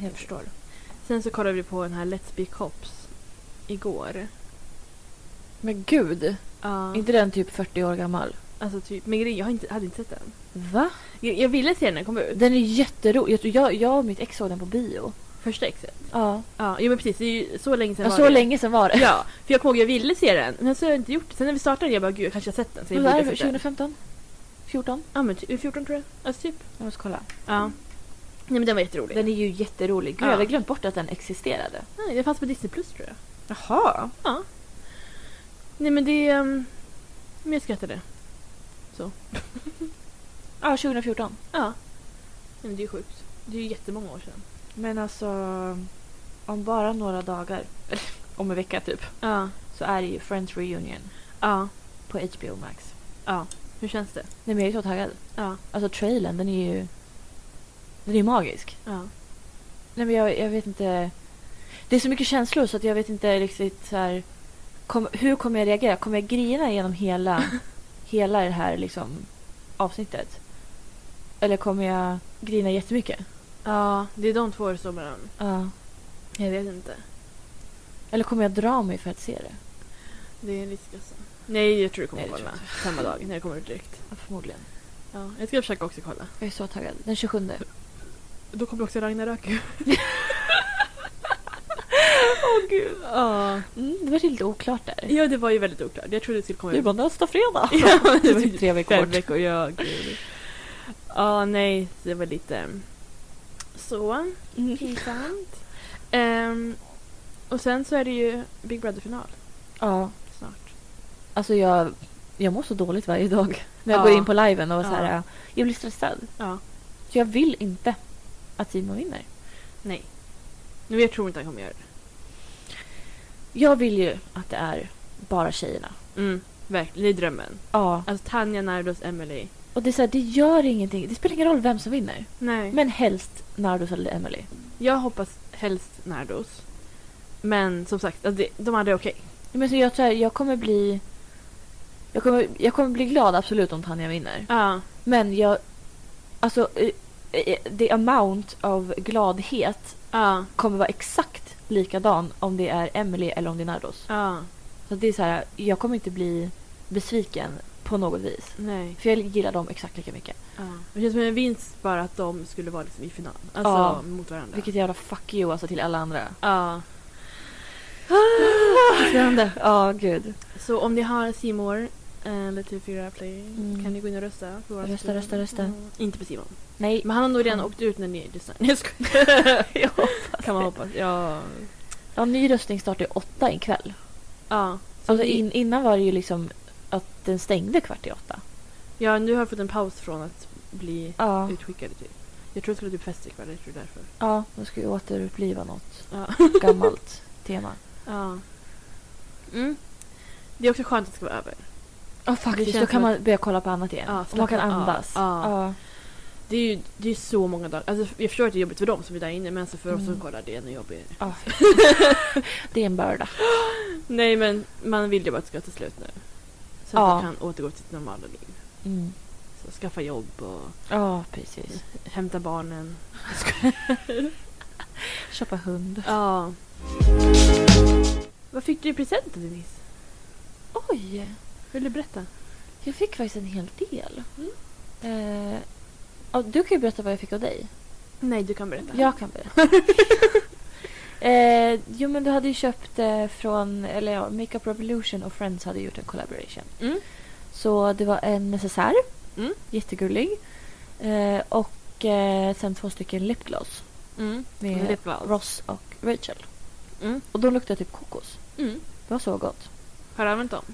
[SPEAKER 3] Jag förstår.
[SPEAKER 1] Sen så kollade vi på den här Let's Be Cops igår.
[SPEAKER 3] Men gud!
[SPEAKER 1] Ja.
[SPEAKER 3] inte den typ 40 år gammal?
[SPEAKER 1] Alltså, typ, men grejen, jag har inte, hade inte sett den.
[SPEAKER 3] Va?
[SPEAKER 1] Jag, jag ville se den när den kom ut.
[SPEAKER 3] Den är jätterolig. Jag, tror- jag, jag och mitt ex såg den på bio.
[SPEAKER 1] Första exet.
[SPEAKER 3] Ja.
[SPEAKER 1] Ja, jo, men precis. Det är ju så länge sedan
[SPEAKER 3] ja
[SPEAKER 1] var
[SPEAKER 3] så
[SPEAKER 1] det.
[SPEAKER 3] länge sedan var det.
[SPEAKER 1] Ja, för jag kommer ihåg jag ville se den. Men så har jag inte gjort det. Sen när vi startade jag bara, gud, jag kanske har sett den. Så jag
[SPEAKER 3] Vad är
[SPEAKER 1] borde
[SPEAKER 3] det?
[SPEAKER 1] ha sett den.
[SPEAKER 3] 2015? 14?
[SPEAKER 1] Ja, men typ 14 tror jag. Alltså typ.
[SPEAKER 3] Jag måste kolla.
[SPEAKER 1] Ja. Nej, men den var jätterolig.
[SPEAKER 3] Den är ju jätterolig. Gud,
[SPEAKER 1] Ja.
[SPEAKER 3] jag hade glömt bort att den existerade.
[SPEAKER 1] Nej, den fanns på Disney Plus tror jag.
[SPEAKER 2] Jaha.
[SPEAKER 1] Nej men det... Um, men jag skrattade.
[SPEAKER 3] Ja, 2014.
[SPEAKER 1] Ja. Nej, men det är ju sjukt. Det är ju jättemånga år sedan.
[SPEAKER 2] Men alltså, om bara några dagar, eller om en vecka typ,
[SPEAKER 1] Ja.
[SPEAKER 3] Så är det ju Friends Reunion
[SPEAKER 1] Ja.
[SPEAKER 3] på HBO Max.
[SPEAKER 1] Ja. Hur känns det?
[SPEAKER 3] Nej men jag är så taggad.
[SPEAKER 1] Ja.
[SPEAKER 3] Alltså trailern, den är ju... Den är ju magisk.
[SPEAKER 1] Ja.
[SPEAKER 3] Nej men jag, jag vet inte. Det är så mycket känslor så att jag vet inte riktigt så här, kom, hur kommer jag reagera. Kommer jag grina genom hela, hela det här liksom, avsnittet? Eller kommer jag grina jättemycket?
[SPEAKER 1] Ja. Det är de två som varandra.
[SPEAKER 3] Ja.
[SPEAKER 1] Jag vet inte.
[SPEAKER 3] Eller kommer jag dra mig för att se det?
[SPEAKER 1] Det är en risk alltså. Nej, jag tror du kommer
[SPEAKER 3] Nej, det
[SPEAKER 1] kolla
[SPEAKER 3] tror
[SPEAKER 1] samma dag när det kommer ut direkt.
[SPEAKER 3] Ja, förmodligen.
[SPEAKER 1] Ja. Jag ska försöka också kolla.
[SPEAKER 3] Jag är så taggad. Den 27.
[SPEAKER 1] Då kommer också Ragnarök.
[SPEAKER 3] Åh oh, gud.
[SPEAKER 1] Ja.
[SPEAKER 3] Mm, det var lite oklart där.
[SPEAKER 1] Ja, det var ju väldigt oklart. Jag trodde det skulle komma
[SPEAKER 3] Du
[SPEAKER 1] ut
[SPEAKER 3] bara nästa fredag.
[SPEAKER 1] Ja, men
[SPEAKER 3] det
[SPEAKER 1] det
[SPEAKER 3] var
[SPEAKER 1] var
[SPEAKER 3] typ tre veckor
[SPEAKER 1] fem
[SPEAKER 3] bort.
[SPEAKER 1] veckor. Ja, gud. Ja, nej. Det var lite... um, Så.
[SPEAKER 3] Mm.
[SPEAKER 1] Pinsamt. Ehm, och sen så är det ju Big Brother-final
[SPEAKER 3] Ja.
[SPEAKER 1] snart.
[SPEAKER 3] Alltså jag, jag mår så dåligt varje dag. När jag
[SPEAKER 1] Ja.
[SPEAKER 3] går in på liven och
[SPEAKER 1] Ja.
[SPEAKER 3] så här, äh, jag blir stressad.
[SPEAKER 1] Ja.
[SPEAKER 3] Så jag vill inte att Simon vinner.
[SPEAKER 1] Nej. Nu jag tror inte han kommer göra det.
[SPEAKER 3] Jag vill ju att det är bara tjejerna.
[SPEAKER 1] Mm, verkligen. Det är drömmen.
[SPEAKER 3] Ja.
[SPEAKER 1] Alltså Tanja, Nardos, Emily.
[SPEAKER 3] Och det är så här, det gör ingenting. Det spelar ingen roll vem som vinner.
[SPEAKER 1] Nej. Men
[SPEAKER 3] Men helst Nardos eller Emily.
[SPEAKER 1] jag hoppas helst Nardos. Men som sagt, alltså, det, de andra är okej.
[SPEAKER 3] Men så jag tror jag kommer bli... Jag kommer, jag kommer bli glad absolut om Tanja vinner.
[SPEAKER 1] Ja.
[SPEAKER 3] Men jag... Alltså, eh, eh, the amount of gladhet
[SPEAKER 1] Ja.
[SPEAKER 3] kommer vara exakt likadan om det är Emily eller om det är Nardos.
[SPEAKER 1] Ja.
[SPEAKER 3] Så det är så här, jag kommer inte bli besviken på något vis.
[SPEAKER 1] Nej.
[SPEAKER 3] För jag gillar dem exakt lika mycket.
[SPEAKER 1] Ja. Det känns som en vinst bara att de skulle vara liksom i final. Alltså
[SPEAKER 3] Ja.
[SPEAKER 1] mot varandra.
[SPEAKER 3] Vilket jävla fuck you alltså till alla andra.
[SPEAKER 1] Ja.
[SPEAKER 3] Spännande. Ja, gud.
[SPEAKER 1] Så om ni har Simor eller TV4 Play
[SPEAKER 3] Mm.
[SPEAKER 1] kan ni gå in och rösta. På vår
[SPEAKER 3] Rösta,
[SPEAKER 1] sida.
[SPEAKER 3] rösta, rösta.
[SPEAKER 1] Mm. Inte på Simon.
[SPEAKER 3] Nej.
[SPEAKER 1] Men han har nog redan
[SPEAKER 3] Han-
[SPEAKER 1] åkt ut när ni lyssnar. Nej, jag skojar.
[SPEAKER 3] Jag
[SPEAKER 1] kan man hoppas. Ja.
[SPEAKER 3] Ja, ny röstning startar ju åtta ikväll.
[SPEAKER 1] Ja. Så
[SPEAKER 3] Alltså
[SPEAKER 1] ni-
[SPEAKER 3] in, innan var det ju liksom att den stängde kvart i åtta.
[SPEAKER 1] ja, nu har jag fått en paus från att bli
[SPEAKER 3] Ja.
[SPEAKER 1] utskickad. Typ. Jag tror jag skulle typ fest ikväll. Jag tror det är därför.
[SPEAKER 3] Ja, de ska ju återuppliva något
[SPEAKER 1] Ja.
[SPEAKER 3] gammalt tema.
[SPEAKER 1] ja. Mm. Det är också skönt att det ska vara över.
[SPEAKER 3] Ja,
[SPEAKER 1] Det
[SPEAKER 3] faktiskt.
[SPEAKER 1] känns
[SPEAKER 3] Då kan
[SPEAKER 1] som
[SPEAKER 3] man börja kolla på annat igen.
[SPEAKER 1] Ja,
[SPEAKER 3] och man kan
[SPEAKER 1] slappna av.
[SPEAKER 3] andas.
[SPEAKER 1] Ja.
[SPEAKER 3] Ja.
[SPEAKER 1] Det är ju det är så många dagar. Alltså, jag förstår att det är jobbigt för dem som är där inne men alltså för oss
[SPEAKER 3] Mm.
[SPEAKER 1] som kollar det är ännu jobbigare.
[SPEAKER 3] Ja. det är en börda.
[SPEAKER 1] Nej men man vill ju bara att det ska ta slut nu. Så
[SPEAKER 3] Ja.
[SPEAKER 1] att man kan återgå till sitt normala liv.
[SPEAKER 3] Mm.
[SPEAKER 1] Så skaffa jobb och
[SPEAKER 3] Ja, precis.
[SPEAKER 1] hämta barnen.
[SPEAKER 3] Köpa hund.
[SPEAKER 1] Ja. Vad fick du i present Denise?
[SPEAKER 3] Oj!
[SPEAKER 1] Vill du berätta?
[SPEAKER 3] Jag fick faktiskt en hel del. Eh, ja, du kan ju berätta vad jag fick av dig.
[SPEAKER 1] Nej, du kan berätta.
[SPEAKER 3] Jag kan berätta. Eh, jo men du hade ju köpt eh, från, eller ja, Makeup Revolution och Friends hade gjort en collaboration.
[SPEAKER 2] Mm.
[SPEAKER 3] Så det var en necessär,
[SPEAKER 2] Mm.
[SPEAKER 3] jättegullig. Eh, och eh, sen två stycken lipgloss
[SPEAKER 2] Mm.
[SPEAKER 3] med
[SPEAKER 2] Lip gloss.
[SPEAKER 3] Ross och Rachel.
[SPEAKER 2] Mm.
[SPEAKER 3] Och de luktade typ kokos.
[SPEAKER 1] Mm.
[SPEAKER 3] Det var så gott.
[SPEAKER 1] Har du använt dem?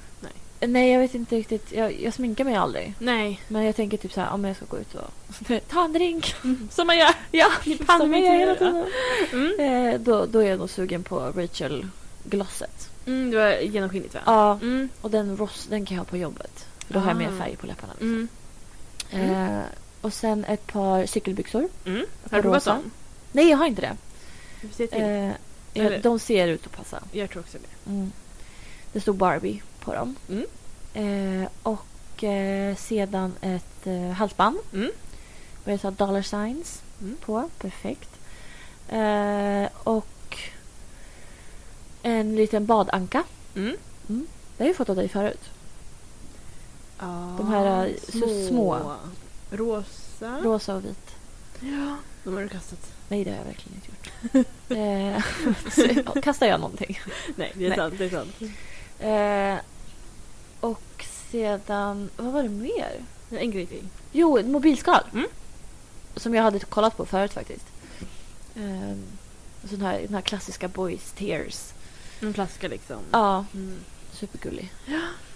[SPEAKER 3] Eh, Nej jag vet inte riktigt, jag, jag sminkar mig aldrig.
[SPEAKER 1] Nej.
[SPEAKER 3] Men jag tänker typ såhär, ja men jag ska gå ut och ta en drink.
[SPEAKER 1] Mm. Som man gör.
[SPEAKER 3] ja,
[SPEAKER 1] som
[SPEAKER 3] som jag gör hela
[SPEAKER 1] jag
[SPEAKER 3] tiden.
[SPEAKER 1] Mm.
[SPEAKER 3] Eh, då, då är jag nog sugen på Rachel-glosset.
[SPEAKER 1] Mm, det var genomskinligt va?
[SPEAKER 3] Ja,
[SPEAKER 1] Mm.
[SPEAKER 3] och den ross, den kan jag ha på jobbet. För då har jag
[SPEAKER 1] Ah.
[SPEAKER 3] mer färg på läpparna. liksom.
[SPEAKER 1] Mm.
[SPEAKER 3] Eh, och sen ett par cykelbyxor.
[SPEAKER 1] Mm. Har du provat
[SPEAKER 3] Rosa.
[SPEAKER 1] dem?
[SPEAKER 3] Nej, jag har inte det.
[SPEAKER 1] Vi får se till.
[SPEAKER 3] Eh,
[SPEAKER 1] Eller-
[SPEAKER 3] ja, de ser ut att passa.
[SPEAKER 1] Jag tror också det.
[SPEAKER 3] Mm. Det stod Barbie på dem.
[SPEAKER 1] Mm.
[SPEAKER 3] Eh, och eh, sedan ett eh, halsband
[SPEAKER 1] Mm.
[SPEAKER 3] med så här dollar signs
[SPEAKER 1] Mm.
[SPEAKER 3] på. Perfekt. Eh, och en liten badanka.
[SPEAKER 1] Mm.
[SPEAKER 3] Det har jag ju fått av dig förut.
[SPEAKER 1] De
[SPEAKER 3] här, eh, så små.
[SPEAKER 1] Rosa.
[SPEAKER 3] Rosa och vit.
[SPEAKER 1] ja. De har du kastat.
[SPEAKER 3] Nej, det har jag verkligen inte gjort. eh, så- kastar jag någonting?
[SPEAKER 1] Nej, det är
[SPEAKER 3] Nej.
[SPEAKER 1] sant. Det är sant.
[SPEAKER 3] Eh, och sedan, vad var det mer?
[SPEAKER 1] En grej till.
[SPEAKER 3] Jo, ett mobilskal.
[SPEAKER 1] Mm.
[SPEAKER 3] Som jag hade kollat på förut faktiskt. Eh, sån här, den här klassiska Boys Tears.
[SPEAKER 1] En flaska liksom.
[SPEAKER 3] Ja,
[SPEAKER 1] Mm.
[SPEAKER 3] supergullig.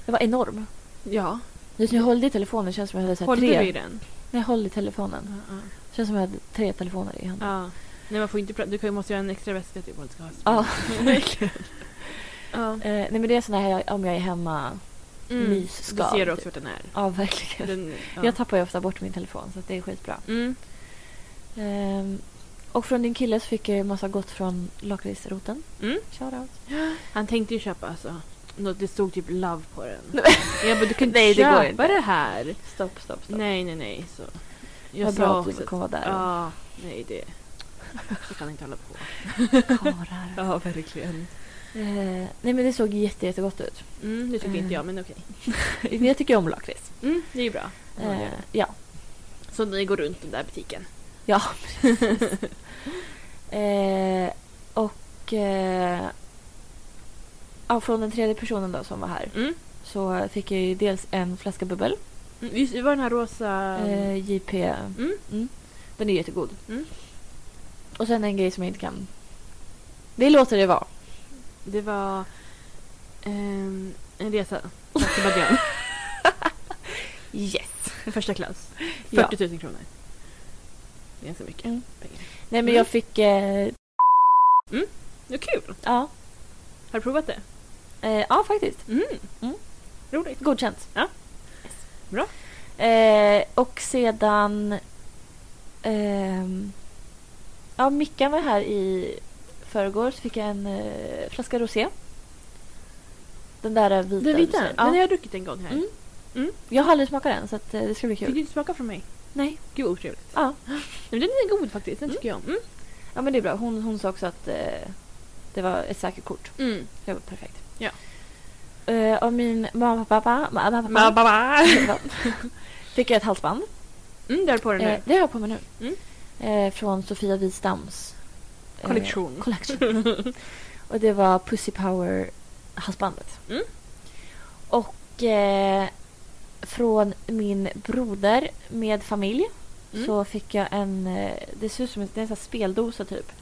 [SPEAKER 3] Den var enorm.
[SPEAKER 1] Ja.
[SPEAKER 3] Just nu jag höll i telefonen känns som jag hade så här
[SPEAKER 1] Håller
[SPEAKER 3] tre.
[SPEAKER 1] du i den?
[SPEAKER 3] Nej, jag höll i telefonen.
[SPEAKER 1] Ja, ja.
[SPEAKER 3] Känns som jag hade tre telefoner i handen.
[SPEAKER 1] Ja. Nej, man får inte... pra- Du kan, måste göra en extra väska typ om du ska ha
[SPEAKER 3] Ja.
[SPEAKER 1] verkligen. ja.
[SPEAKER 3] Eh, nej men det är sån här om jag är hemma.
[SPEAKER 1] Mm.
[SPEAKER 3] Mysskal,
[SPEAKER 1] Du ser också
[SPEAKER 3] typ.
[SPEAKER 1] vart den är.
[SPEAKER 3] Ja, verkligen.
[SPEAKER 1] Den, ja.
[SPEAKER 3] Jag tappar ju ofta bort min telefon så att det är skitbra.
[SPEAKER 1] mm.
[SPEAKER 3] Ehm, och från din kille så fick jag en massa gott från lakritsroten.
[SPEAKER 1] Mm.
[SPEAKER 3] Shoutout.
[SPEAKER 1] Han tänkte ju köpa alltså. Något, det stod typ love på den.
[SPEAKER 3] Nej.
[SPEAKER 1] Jag bara, du kan inte
[SPEAKER 3] Nej, det går
[SPEAKER 1] köpa
[SPEAKER 3] inte.
[SPEAKER 1] det här.
[SPEAKER 3] Stopp, stopp, stopp.
[SPEAKER 1] Nej, nej, nej. Så.
[SPEAKER 3] Vad bra att du kommer vara där.
[SPEAKER 1] Ja, nej det... Så kan jag inte hålla på.
[SPEAKER 3] Karlar.
[SPEAKER 1] Ja, verkligen.
[SPEAKER 3] Ehm, nej men det såg jätte, jättegott ut.
[SPEAKER 1] Mm, det tycker inte jag, men okej.
[SPEAKER 3] Men jag tycker ju om lakrits.
[SPEAKER 1] Mm, det är ju bra.
[SPEAKER 3] Ehm, ja.
[SPEAKER 1] Så ni går runt den där butiken.
[SPEAKER 3] Ja, precis. Ehm, och eh, ja, från den tredje personen då som var här
[SPEAKER 1] Mm.
[SPEAKER 3] så fick jag ju dels en flaska bubbel.
[SPEAKER 1] Mm, Just, det var den här rosa...
[SPEAKER 3] Eh, JP.
[SPEAKER 1] Mm.
[SPEAKER 3] Den är jättegod.
[SPEAKER 1] Mm.
[SPEAKER 3] Och sen en grej som jag inte kan. Det låter det vara.
[SPEAKER 1] Det var ehm, en resa till Azerbajdzjan.
[SPEAKER 3] Yes.
[SPEAKER 1] Första klass.
[SPEAKER 3] Ja.
[SPEAKER 1] 40 000 kronor. Det är ganska mycket
[SPEAKER 3] Mm.
[SPEAKER 1] pengar.
[SPEAKER 3] Nej
[SPEAKER 1] Mm.
[SPEAKER 3] men jag fick... Eh,
[SPEAKER 1] Det är kul!
[SPEAKER 3] ja.
[SPEAKER 1] Har du provat det?
[SPEAKER 3] Eh, ja faktiskt.
[SPEAKER 1] Mm.
[SPEAKER 3] Mm.
[SPEAKER 1] Roligt.
[SPEAKER 3] Godkänt.
[SPEAKER 1] Ja.
[SPEAKER 3] Yes.
[SPEAKER 1] Bra.
[SPEAKER 3] Eh, och sedan... ehm, ja Mickan var här i förrgår så fick jag en eh, flaska rosé. Den där eh, vita.
[SPEAKER 1] Den
[SPEAKER 3] du
[SPEAKER 1] vita?
[SPEAKER 3] säger.
[SPEAKER 1] Den har
[SPEAKER 3] Ja.
[SPEAKER 1] jag druckit en gång här.
[SPEAKER 3] Mm.
[SPEAKER 1] Mm.
[SPEAKER 3] Jag har aldrig smakat den så att, eh, det ska bli
[SPEAKER 1] Fick
[SPEAKER 3] kul.
[SPEAKER 1] du inte smaka från mig?
[SPEAKER 3] Nej.
[SPEAKER 1] Gud vad otrevligt.
[SPEAKER 3] Ja.
[SPEAKER 1] Men den är god faktiskt, den tycker jag om. Mm.
[SPEAKER 3] Ja men det är bra. Hon, hon sa också att eh, det var ett säkert kort.
[SPEAKER 1] Mm.
[SPEAKER 3] Det var perfekt.
[SPEAKER 1] Ja.
[SPEAKER 3] Eh, och min mamma och pappa, mamma, pappa,
[SPEAKER 1] Ma- ba- ba.
[SPEAKER 3] fick jag ett halsband.
[SPEAKER 1] Mm, där på den nu.
[SPEAKER 3] Eh, det har jag på mig nu.
[SPEAKER 1] Mm.
[SPEAKER 3] Eh, från Sofia Wistams eh,
[SPEAKER 1] Kollektion.
[SPEAKER 3] collection. och det var Pussy Power halsbandet.
[SPEAKER 1] Mm.
[SPEAKER 3] Och eh, från min broder med familj
[SPEAKER 1] Mm.
[SPEAKER 3] så fick jag en, eh, det ser ut som en, det är en sån här speldosa typ.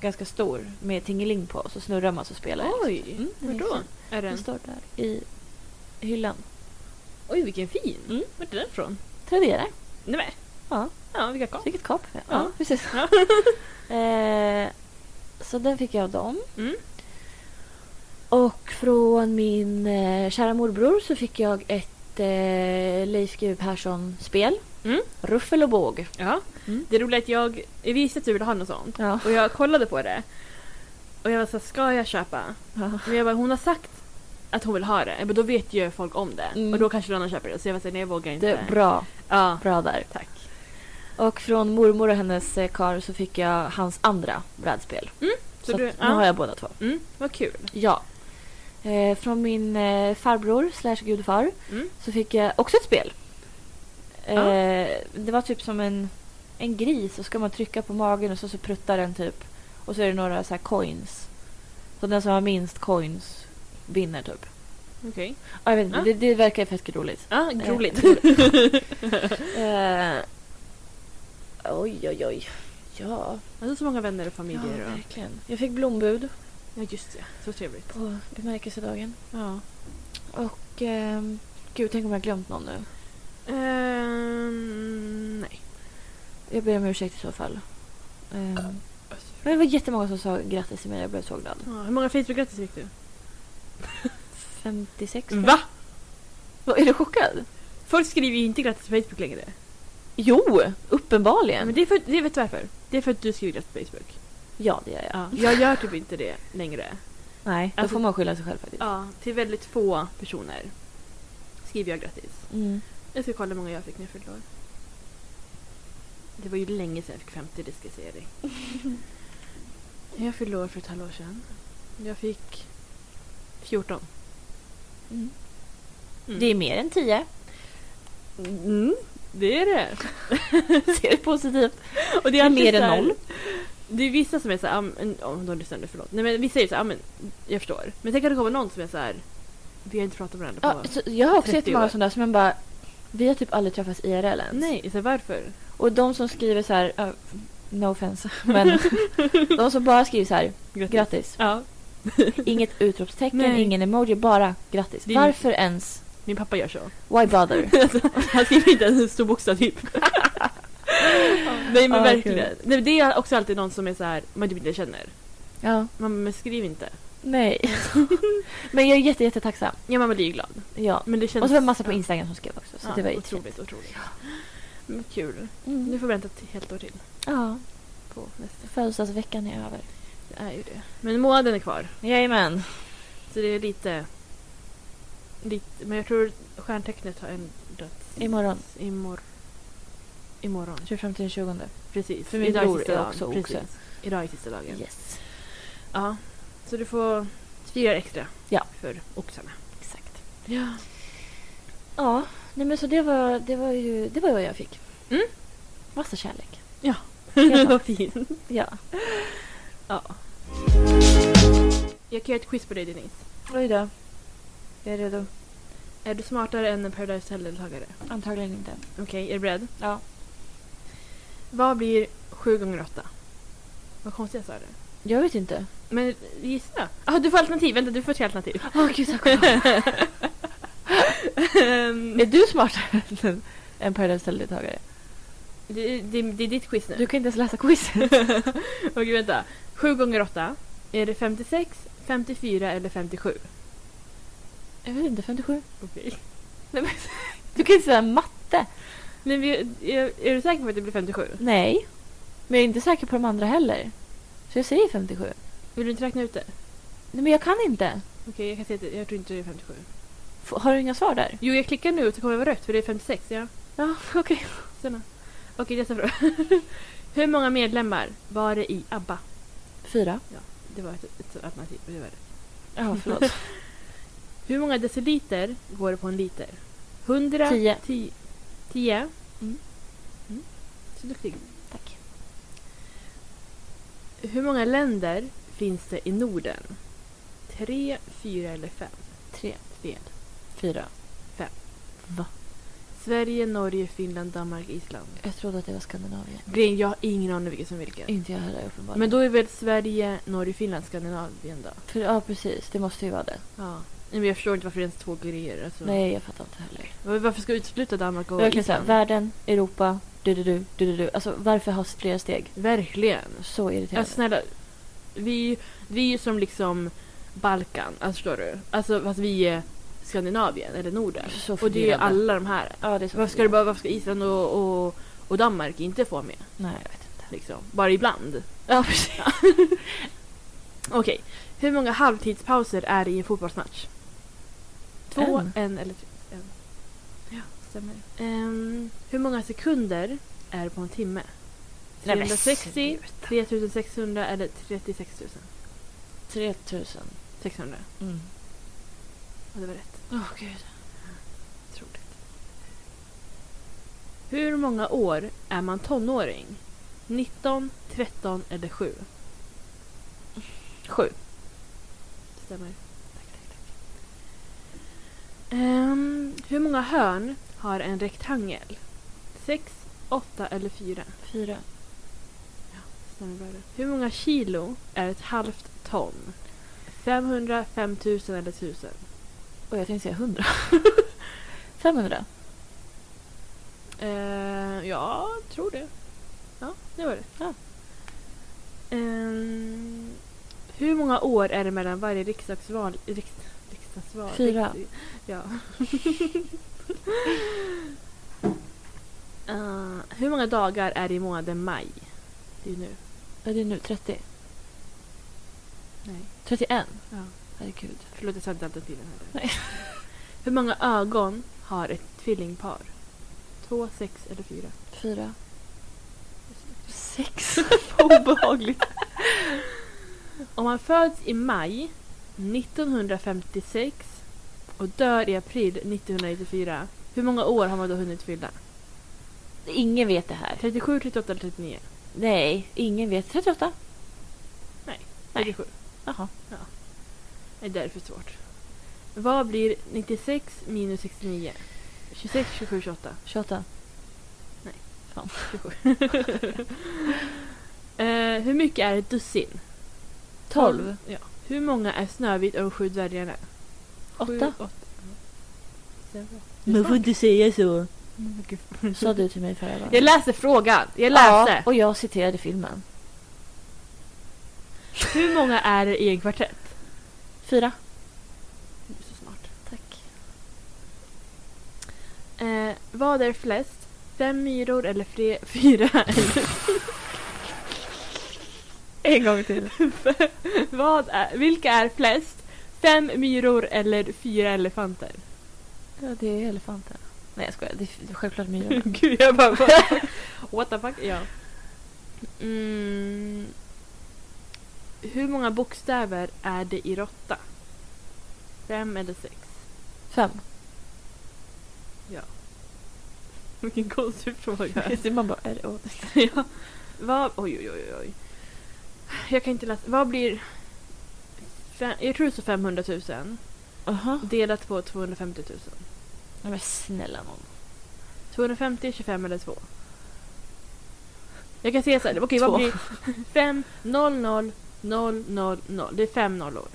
[SPEAKER 3] Ganska stor med tingeling på så snurrar man så spelar det.
[SPEAKER 1] Oj,
[SPEAKER 3] Mm, den
[SPEAKER 1] var
[SPEAKER 3] är
[SPEAKER 1] då?
[SPEAKER 3] fin.
[SPEAKER 1] Är
[SPEAKER 3] Den
[SPEAKER 1] den?
[SPEAKER 3] står där i hyllan.
[SPEAKER 1] Oj, vilken fin.
[SPEAKER 3] Mm.
[SPEAKER 1] Vart är den från?
[SPEAKER 3] Tradera.
[SPEAKER 1] Nej, men.
[SPEAKER 3] Ja.
[SPEAKER 1] Ja, vilka kap.
[SPEAKER 3] Vilket kap. Ja,
[SPEAKER 1] Ja.
[SPEAKER 3] precis.
[SPEAKER 1] Ja.
[SPEAKER 3] eh, så den fick jag av dem.
[SPEAKER 1] Mm.
[SPEAKER 3] Och från min eh, kära morbror så fick jag ett eh, Leif GW Persson-spel.
[SPEAKER 1] Mm.
[SPEAKER 3] Ruffel och båg.
[SPEAKER 1] Ja.
[SPEAKER 3] Mm.
[SPEAKER 1] Det roliga är att jag jag visste att du ville ha något sånt.
[SPEAKER 3] Ja.
[SPEAKER 1] Och jag kollade på det. Och jag var såhär, ska jag köpa? Men jag bara, hon har sagt att hon vill ha det. Jag bara, då vet ju folk om det.
[SPEAKER 3] Mm.
[SPEAKER 1] Och då kanske någon annan köper det. Så jag var såhär, nej jag vågar inte.
[SPEAKER 3] Det är bra,
[SPEAKER 1] Ja,
[SPEAKER 3] bra där.
[SPEAKER 1] tack.
[SPEAKER 3] Och från mormor och hennes eh, karl så fick jag hans andra brädspel.
[SPEAKER 1] Mm. Så,
[SPEAKER 3] Så,
[SPEAKER 1] du,
[SPEAKER 3] att nu har
[SPEAKER 1] ja.
[SPEAKER 3] jag båda två.
[SPEAKER 1] Mm, vad kul.
[SPEAKER 3] Ja. Eh, från min eh, farbror slash gudfar
[SPEAKER 1] Mm.
[SPEAKER 3] så fick jag också ett spel. Eh,
[SPEAKER 1] Ja.
[SPEAKER 3] Det var typ som en, en gris och ska man trycka på magen och så, så pruttar den typ Och så är det några så här coins. Så den som har minst coins vinner typ.
[SPEAKER 1] Okej.
[SPEAKER 3] Ja, jag vet inte,
[SPEAKER 1] Ja.
[SPEAKER 3] det, det verkar fett roligt.
[SPEAKER 1] Ah,
[SPEAKER 3] Eh,
[SPEAKER 1] roligt.
[SPEAKER 3] Eh, oj, oj, oj. Ja,
[SPEAKER 1] Alltså så många vänner och
[SPEAKER 3] ja
[SPEAKER 1] familjer. och...
[SPEAKER 3] verkligen. Jag fick blombud
[SPEAKER 1] ja just det. Så trevligt.
[SPEAKER 3] på bemärkelsedagen.
[SPEAKER 1] Ja.
[SPEAKER 3] Och ehm, gud, tänk om jag glömt någon nu.
[SPEAKER 1] Ehm, nej.
[SPEAKER 3] Jag ber om ursäkt i så fall. Ehm, men det var jättemånga som sa grattis till mig, jag blev så glad.
[SPEAKER 1] Ja, hur många Facebook-grattis fick du?
[SPEAKER 3] 56 tror jag.
[SPEAKER 1] Va?
[SPEAKER 3] Vad, Är du chockad?
[SPEAKER 1] Folk skriver ju inte grattis på Facebook längre.
[SPEAKER 3] Jo, uppenbarligen.
[SPEAKER 1] Men det, är för, det vet du varför? Det är för att du skriver grattis på Facebook.
[SPEAKER 3] Ja, det gör jag.
[SPEAKER 1] Ja. Jag gör typ inte det längre.
[SPEAKER 3] Nej, då
[SPEAKER 1] Alltså-
[SPEAKER 3] får man skylla sig själv faktiskt.
[SPEAKER 1] Ja, till väldigt få personer skriver jag grattis.
[SPEAKER 3] Mm.
[SPEAKER 1] Jag ska kolla hur många jag fick när jag fyllde år. Det var ju länge sedan jag fick 50, det ska jag säga dig. jag fyllde år för ett halvår sedan. Jag fick 14.
[SPEAKER 3] Mm.
[SPEAKER 1] Mm.
[SPEAKER 3] Det är mer än 10.
[SPEAKER 1] Mm, det är det.
[SPEAKER 3] Ser det positivt.
[SPEAKER 1] Och
[SPEAKER 3] Det är
[SPEAKER 1] alltid
[SPEAKER 3] mer än
[SPEAKER 1] så här-
[SPEAKER 3] noll.
[SPEAKER 1] Det är vissa som är så här, ah, men- om de lyssnar nu, förlåt. Nej men vissa är så här, ah, men jag förstår. Men sen kan det komma någon som är så här, vi har inte pratat med varandra på...
[SPEAKER 3] Ja, så jag har också
[SPEAKER 1] 30 år.
[SPEAKER 3] jättemånga sådana som man bara... Vi har typ aldrig träffats IRL ens.
[SPEAKER 1] Nej, så här, varför?
[SPEAKER 3] Och de som skriver så här... ja, no offense. Men de som bara skriver så här... Grattis.
[SPEAKER 1] Ja.
[SPEAKER 3] Inget utropstecken,
[SPEAKER 1] Nej.
[SPEAKER 3] ingen emoji, bara grattis.
[SPEAKER 1] Det är-
[SPEAKER 3] Varför ens?
[SPEAKER 1] Min pappa gör så. Alltså,
[SPEAKER 3] Why bother?
[SPEAKER 1] Han skriver inte ens en stor bokstav typ. Nej men
[SPEAKER 3] Ja,
[SPEAKER 1] verkligen.
[SPEAKER 3] kul.
[SPEAKER 1] Nej, men det är också alltid någon som är så här, man typ inte känner.
[SPEAKER 3] ja,
[SPEAKER 1] Man, men skriv inte.
[SPEAKER 3] nej. men jag är jätte, jätte tacksam.
[SPEAKER 1] Ja man blir ju glad.
[SPEAKER 3] Ja.
[SPEAKER 1] Men det känns...
[SPEAKER 3] Och så var det massa på
[SPEAKER 1] ja.
[SPEAKER 3] Instagram som skrev också. Så
[SPEAKER 1] Ja,
[SPEAKER 3] det var jättefint.
[SPEAKER 1] otroligt, otroligt. Men kul. Nu
[SPEAKER 3] Mm.
[SPEAKER 1] får vi vänta ett helt år till
[SPEAKER 3] Ja,
[SPEAKER 1] på nästa.
[SPEAKER 3] födelsedagsveckan är över.
[SPEAKER 1] Det är ju det. Men månaden är kvar.
[SPEAKER 3] Jajamän.
[SPEAKER 1] Så det är lite... lite men jag tror stjärntecknet har ändrats.
[SPEAKER 3] Imorgon.
[SPEAKER 1] Imor, imorgon.
[SPEAKER 3] 25 Typ till 20.
[SPEAKER 1] Precis.
[SPEAKER 3] För min
[SPEAKER 1] Idag är
[SPEAKER 3] bror
[SPEAKER 1] sista
[SPEAKER 3] är
[SPEAKER 1] dagen.
[SPEAKER 3] också
[SPEAKER 1] Precis.
[SPEAKER 3] oxe.
[SPEAKER 1] Idag är sista dagen.
[SPEAKER 3] Yes.
[SPEAKER 1] Ja. Så du får fira extra
[SPEAKER 3] Ja.
[SPEAKER 1] för oxarna.
[SPEAKER 3] Exakt.
[SPEAKER 1] Ja.
[SPEAKER 3] Ja, nej men så det var, det var ju det var vad jag fick.
[SPEAKER 1] Mm.
[SPEAKER 3] Massa kärlek. Helt
[SPEAKER 1] Vad fint.
[SPEAKER 3] Ja.
[SPEAKER 1] Ja. Jag kan göra ett quiz på dig Denise.
[SPEAKER 3] Oj då. Jag är redo.
[SPEAKER 1] Är du smartare än en Paradise Hotel-deltagare?
[SPEAKER 3] Antagligen inte.
[SPEAKER 1] Okej, är du beredd?
[SPEAKER 3] Ja.
[SPEAKER 1] Vad blir sju gånger åtta? Vad konstigt jag sa det.
[SPEAKER 3] Jag vet inte.
[SPEAKER 1] Men gissa. Ah, du får alternativ. Vänta, du får tre alternativ.
[SPEAKER 3] Åh gud, tack och lov.
[SPEAKER 1] Ehm,
[SPEAKER 3] Är du smartare än en Paradise Hotel-deltagare?
[SPEAKER 1] det, det, det är ditt quiz nu.
[SPEAKER 3] Du kan inte ens läsa quizet.
[SPEAKER 1] Okej, vänta. 7 gånger 8. Är det 56, 54 eller 57?
[SPEAKER 3] Jag vet inte, 57?
[SPEAKER 1] Okej.
[SPEAKER 3] Du kan inte säga matte.
[SPEAKER 1] Nej, men jag- jag- är du säker på att det blir 57?
[SPEAKER 3] Nej. Men jag är inte säker på de andra heller. Så jag säger 57.
[SPEAKER 1] Vill du inte räkna ut det?
[SPEAKER 3] Nej men jag kan inte.
[SPEAKER 1] Okej, jag kan säga att det- jag tror inte det är 57.
[SPEAKER 3] F- Har du inga svar där?
[SPEAKER 1] Jo, jag klickar nu och så kommer det vara rött för det är 56. Ja,
[SPEAKER 3] Ja, okej.
[SPEAKER 1] såna. Okej, nästa fråga. Hur många medlemmar var det i ABBA?
[SPEAKER 3] Fyra.
[SPEAKER 1] Det var ett, ett alternativ. typ- Det var det.
[SPEAKER 3] Ja, förlåt.
[SPEAKER 1] Hur många deciliter går det på en liter? 100?
[SPEAKER 3] Tio.
[SPEAKER 1] 10? 10?
[SPEAKER 3] Mm.
[SPEAKER 1] Mm. Så duktig.
[SPEAKER 3] Tack.
[SPEAKER 1] Hur många länder finns det i Norden? Tre, fyra eller fem?
[SPEAKER 3] Tre.
[SPEAKER 1] Fel.
[SPEAKER 3] Fyra.
[SPEAKER 1] Sverige, Norge, Finland, Danmark, Island.
[SPEAKER 3] Jag trodde att det var Skandinavien.
[SPEAKER 1] Grejen, jag har ingen aning vilken som är vilken.
[SPEAKER 3] Inte jag heller uppenbarligen.
[SPEAKER 1] Men då är väl Sverige, Norge, Finland, Skandinavien då?
[SPEAKER 3] För, ja, precis. Det måste ju vara det.
[SPEAKER 1] Ja. Nej, men jag förstår inte varför det är ens två grejer. Alltså.
[SPEAKER 3] Nej, jag fattar inte heller.
[SPEAKER 1] Var- Varför ska vi utesluta Danmark och
[SPEAKER 3] Verkligen såhär,
[SPEAKER 1] Island?
[SPEAKER 3] världen, Europa, du du du du du du. Alltså varför ha flera steg?
[SPEAKER 1] Verkligen.
[SPEAKER 3] Så irriterande.
[SPEAKER 1] Alltså snälla, vi, vi är ju som liksom Balkan, alltså förstår du? Alltså fast vi är Skandinavien eller Norden.
[SPEAKER 3] Så
[SPEAKER 1] Och det är ju
[SPEAKER 3] förvirrande.
[SPEAKER 1] alla de här.
[SPEAKER 3] Ja, det är så
[SPEAKER 1] Varför ska, det bara, varför ska Island och, och, och Danmark inte få med?
[SPEAKER 3] förvirrande. Nej, jag vet inte.
[SPEAKER 1] Liksom? Bara ibland.
[SPEAKER 3] Ja, precis.
[SPEAKER 1] Okej. Hur många halvtidspauser är det i en fotbollsmatch? Två, en,
[SPEAKER 3] En.
[SPEAKER 1] eller tre? En. Ja, stämmer. Ehm, hur många sekunder är det på en timme?
[SPEAKER 3] Nej, men
[SPEAKER 1] 360,
[SPEAKER 3] sluta.
[SPEAKER 1] 3600 eller 36 000?
[SPEAKER 3] 3000.
[SPEAKER 1] 600.
[SPEAKER 3] Mm.
[SPEAKER 1] Ja, det var rätt.
[SPEAKER 3] Åh gud.
[SPEAKER 1] Otroligt. Hur många år är man tonåring? 19, 13 eller 7?
[SPEAKER 2] Sju.
[SPEAKER 1] Stämmer. Tack, tack, tack. Ehm, hur många hörn har en rektangel? Sex, åtta eller fyra?
[SPEAKER 3] Fyra.
[SPEAKER 1] Stämmer bra det. Hur många kilo är ett halvt ton? 500, 5000 eller 1000?
[SPEAKER 3] Och jag tänkte säga 100. 500.
[SPEAKER 1] Eh, ja, tror det. Ja, det var det.
[SPEAKER 3] Ja.
[SPEAKER 1] Ehm, hur många år är det mellan varje riksdagsval? Riks, riksdagsval?
[SPEAKER 3] Fyra.
[SPEAKER 1] Riks, ja. Eh, hur många dagar är det i månaden maj? Det är ju nu.
[SPEAKER 3] Vad är det nu? 30?
[SPEAKER 1] Nej.
[SPEAKER 3] 31?
[SPEAKER 1] Ja.
[SPEAKER 3] Herregud.
[SPEAKER 1] Förlåt, jag sa inte alternativen heller.
[SPEAKER 3] Nej.
[SPEAKER 1] Hur många ögon har ett tvillingpar? Två, sex eller fyra?
[SPEAKER 3] Fyra. Sex.
[SPEAKER 1] Vad obehagligt. Om man föds i maj 1956 och dör i april 1994, hur många år har man då hunnit fylla?
[SPEAKER 3] Ingen vet det här.
[SPEAKER 1] 37, 38 eller 39?
[SPEAKER 3] Nej, ingen vet. 38?
[SPEAKER 1] 37.
[SPEAKER 3] Jaha.
[SPEAKER 1] Det är därför svårt. Vad blir 96 minus 69? 26, 27, 28?
[SPEAKER 3] 28?
[SPEAKER 1] 27. Eh, hur mycket är ett dussin?
[SPEAKER 3] 12?
[SPEAKER 1] Ja. Hur många är Snövit och de sju dvärgarna? Sju,
[SPEAKER 3] 8?
[SPEAKER 1] åtta. Ja.
[SPEAKER 3] Men får inte säga så.
[SPEAKER 1] Mm, gud.
[SPEAKER 3] Sa du till mig förra gången?
[SPEAKER 1] Jag läser frågan. Jag läste.
[SPEAKER 3] Ja, och jag citerade filmen.
[SPEAKER 1] Hur många är det i en kvartett?
[SPEAKER 3] Fyra.
[SPEAKER 1] Du är så smart.
[SPEAKER 3] Tack.
[SPEAKER 1] Eh, vad är flest? Fem myror eller fre- fyra? Eller
[SPEAKER 3] En gång till.
[SPEAKER 1] vad är, vilka är flest? Fem myror eller fyra elefanter?
[SPEAKER 3] Ja, det är elefanten. Nej, jag skojar. Det är f- självklart myrorna.
[SPEAKER 1] Gud, jag bara... bara what the fuck? Ja. Mm. Hur många bokstäver är det i råtta? Fem eller sex?
[SPEAKER 3] Fem.
[SPEAKER 1] Vilken konstig fråga.
[SPEAKER 3] Man bara, är det åt?
[SPEAKER 1] ja. Vad... Oj, oj, oj, oj. Jag kan inte läsa. Vad blir... Fem, jag tror det står 500 000
[SPEAKER 3] Jaha.
[SPEAKER 1] delat på 250 000.
[SPEAKER 3] Nej, men snälla nån.
[SPEAKER 1] 250, 25 eller 2? Jag kan säga så här, okej vad
[SPEAKER 3] Två.
[SPEAKER 1] blir 5, 0, 0, 0, 0, 0. Det är fem nollor.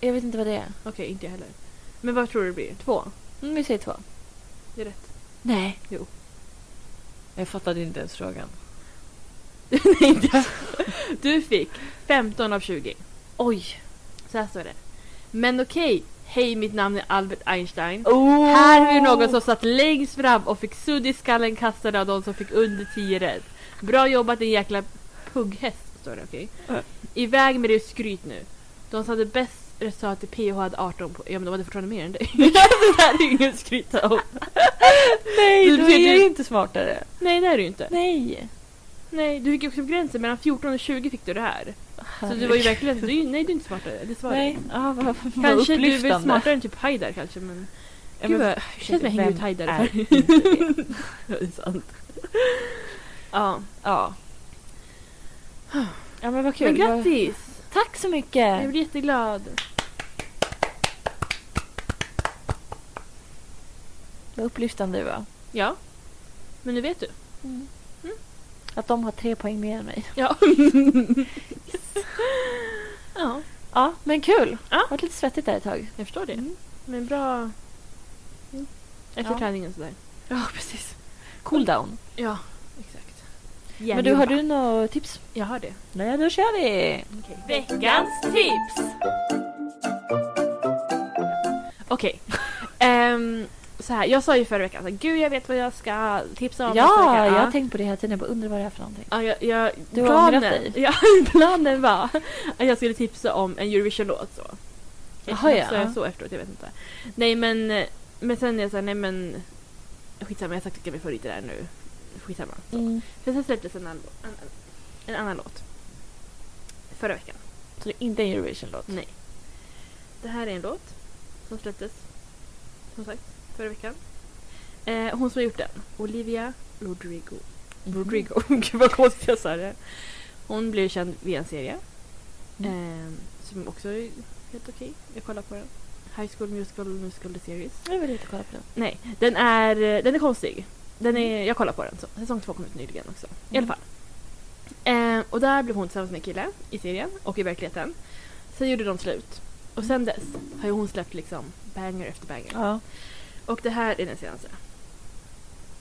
[SPEAKER 3] Jag vet inte vad det är.
[SPEAKER 1] Okej, inte jag heller. Men vad tror du det blir? Två?
[SPEAKER 3] Mm, vi säger två.
[SPEAKER 1] Det är rätt.
[SPEAKER 3] Nej.
[SPEAKER 1] Jo.
[SPEAKER 3] Jag fattade inte ens frågan.
[SPEAKER 1] Nej, inte. Du fick 15 av 20.
[SPEAKER 3] Oj.
[SPEAKER 1] Så här står det. Men okej, hej mitt namn är Albert Einstein.
[SPEAKER 3] Oh.
[SPEAKER 1] Här är någon som satt längst fram och fick sudd i skallen kastade av de som fick under 10 rätt. Bra jobbat din jäkla pugghäst, står det okej.
[SPEAKER 3] Ja.
[SPEAKER 1] Iväg med ditt skryt nu. De som hade bäst resultat i PH hade 18 poäng. Ja men de hade fortfarande mer än dig. det här är ju ingen skryt om.
[SPEAKER 3] Nej,
[SPEAKER 1] Du
[SPEAKER 3] då
[SPEAKER 1] betyder-
[SPEAKER 3] är jag ju inte smartare.
[SPEAKER 1] Nej det är det ju inte.
[SPEAKER 3] Nej.
[SPEAKER 1] Nej, du fick ju också gränsen mellan 14 och 20 fick du det här. Så du var ju verkligen... Du, är ju- nej du är inte smartare. Det svarar
[SPEAKER 3] Nej. Ah, vad, vad
[SPEAKER 1] Kanske du är väl
[SPEAKER 3] upplyftande.
[SPEAKER 1] smartare än typ Haidar kanske men...
[SPEAKER 3] Ja,
[SPEAKER 1] Gud,
[SPEAKER 3] men-
[SPEAKER 1] vad- Det känns som jag hänger
[SPEAKER 3] Vem
[SPEAKER 1] ut Haidar.
[SPEAKER 3] är
[SPEAKER 1] för.
[SPEAKER 3] inte det?
[SPEAKER 1] Ja, det är sant. Ja.
[SPEAKER 3] Ja. Ja, men vad kul. Äh.
[SPEAKER 1] Men
[SPEAKER 3] Vad-
[SPEAKER 1] grattis!
[SPEAKER 3] Tack så
[SPEAKER 1] Jag
[SPEAKER 3] mycket.
[SPEAKER 1] blir jätteglad.
[SPEAKER 3] Vad upplyftande det var.
[SPEAKER 1] Ja. Men nu vet du.
[SPEAKER 3] Att de har tre poäng mer än mig.
[SPEAKER 1] Ja. ja,
[SPEAKER 3] Ja, men kul.
[SPEAKER 1] Ja.
[SPEAKER 3] Det varit lite svettigt där ett tag.
[SPEAKER 1] jag förstår det.
[SPEAKER 3] Mm.
[SPEAKER 1] Men bra... Mm. Efter
[SPEAKER 3] Ja.
[SPEAKER 1] träningen och sådär.
[SPEAKER 3] Ja, precis. Cool down.
[SPEAKER 1] Ja, exakt.
[SPEAKER 3] Men du, har
[SPEAKER 1] Järnjobba.
[SPEAKER 3] du några tips?
[SPEAKER 1] Jag har det.
[SPEAKER 3] Nej, då kör vi.
[SPEAKER 1] Veckans tips! Okej. Ehm, så här, jag sa ju förra veckan att gud jag vet vad jag ska tipsa om nästa
[SPEAKER 3] Ja,
[SPEAKER 1] vecka.
[SPEAKER 3] jag har tänkt på det hela tiden. Jag bara undrar vad det är för någonting.
[SPEAKER 1] Ja, jag, jag,
[SPEAKER 3] Du har
[SPEAKER 1] planen,
[SPEAKER 3] ångrat dig.
[SPEAKER 1] Ja, planen var att jag skulle tipsa om en Eurovision-låt. Så.
[SPEAKER 3] Jaha, ja.
[SPEAKER 1] Så jag så efteråt, jag vet inte. Nej men, men sen är jag såhär, nej men skitsamma, jag har sagt vilka mina favoriter är nu. Skitsamma. Så.
[SPEAKER 3] Mm.
[SPEAKER 1] För sen släpptes en annan, en, en annan låt. Förra veckan.
[SPEAKER 3] Så det är inte en Eurovision-låt?
[SPEAKER 1] Nej. Det här är en låt som släpptes, som sagt, förra veckan. Eh, hon som har gjort den, Olivia Rodrigo. Rodrigo. Gud vad konstigt jag sa det. Hon blev känd via en serie.
[SPEAKER 3] Mm.
[SPEAKER 1] Ehm, Som också är helt okej. Jag kollar på den. High School Musical Musical The Series.
[SPEAKER 3] Jag vill inte kolla på den.
[SPEAKER 1] Nej, den är, den är konstig. Den är, jag kollar på den. Så. Säsong två kom ut nyligen också. I alla
[SPEAKER 3] Mm.
[SPEAKER 1] fall. Eh, och där blev hon tillsammans med en kille i serien och i verkligheten. Sen gjorde de slut. Och sen dess har ju hon släppt liksom banger efter banger.
[SPEAKER 3] Ja.
[SPEAKER 1] Och det här är den senaste.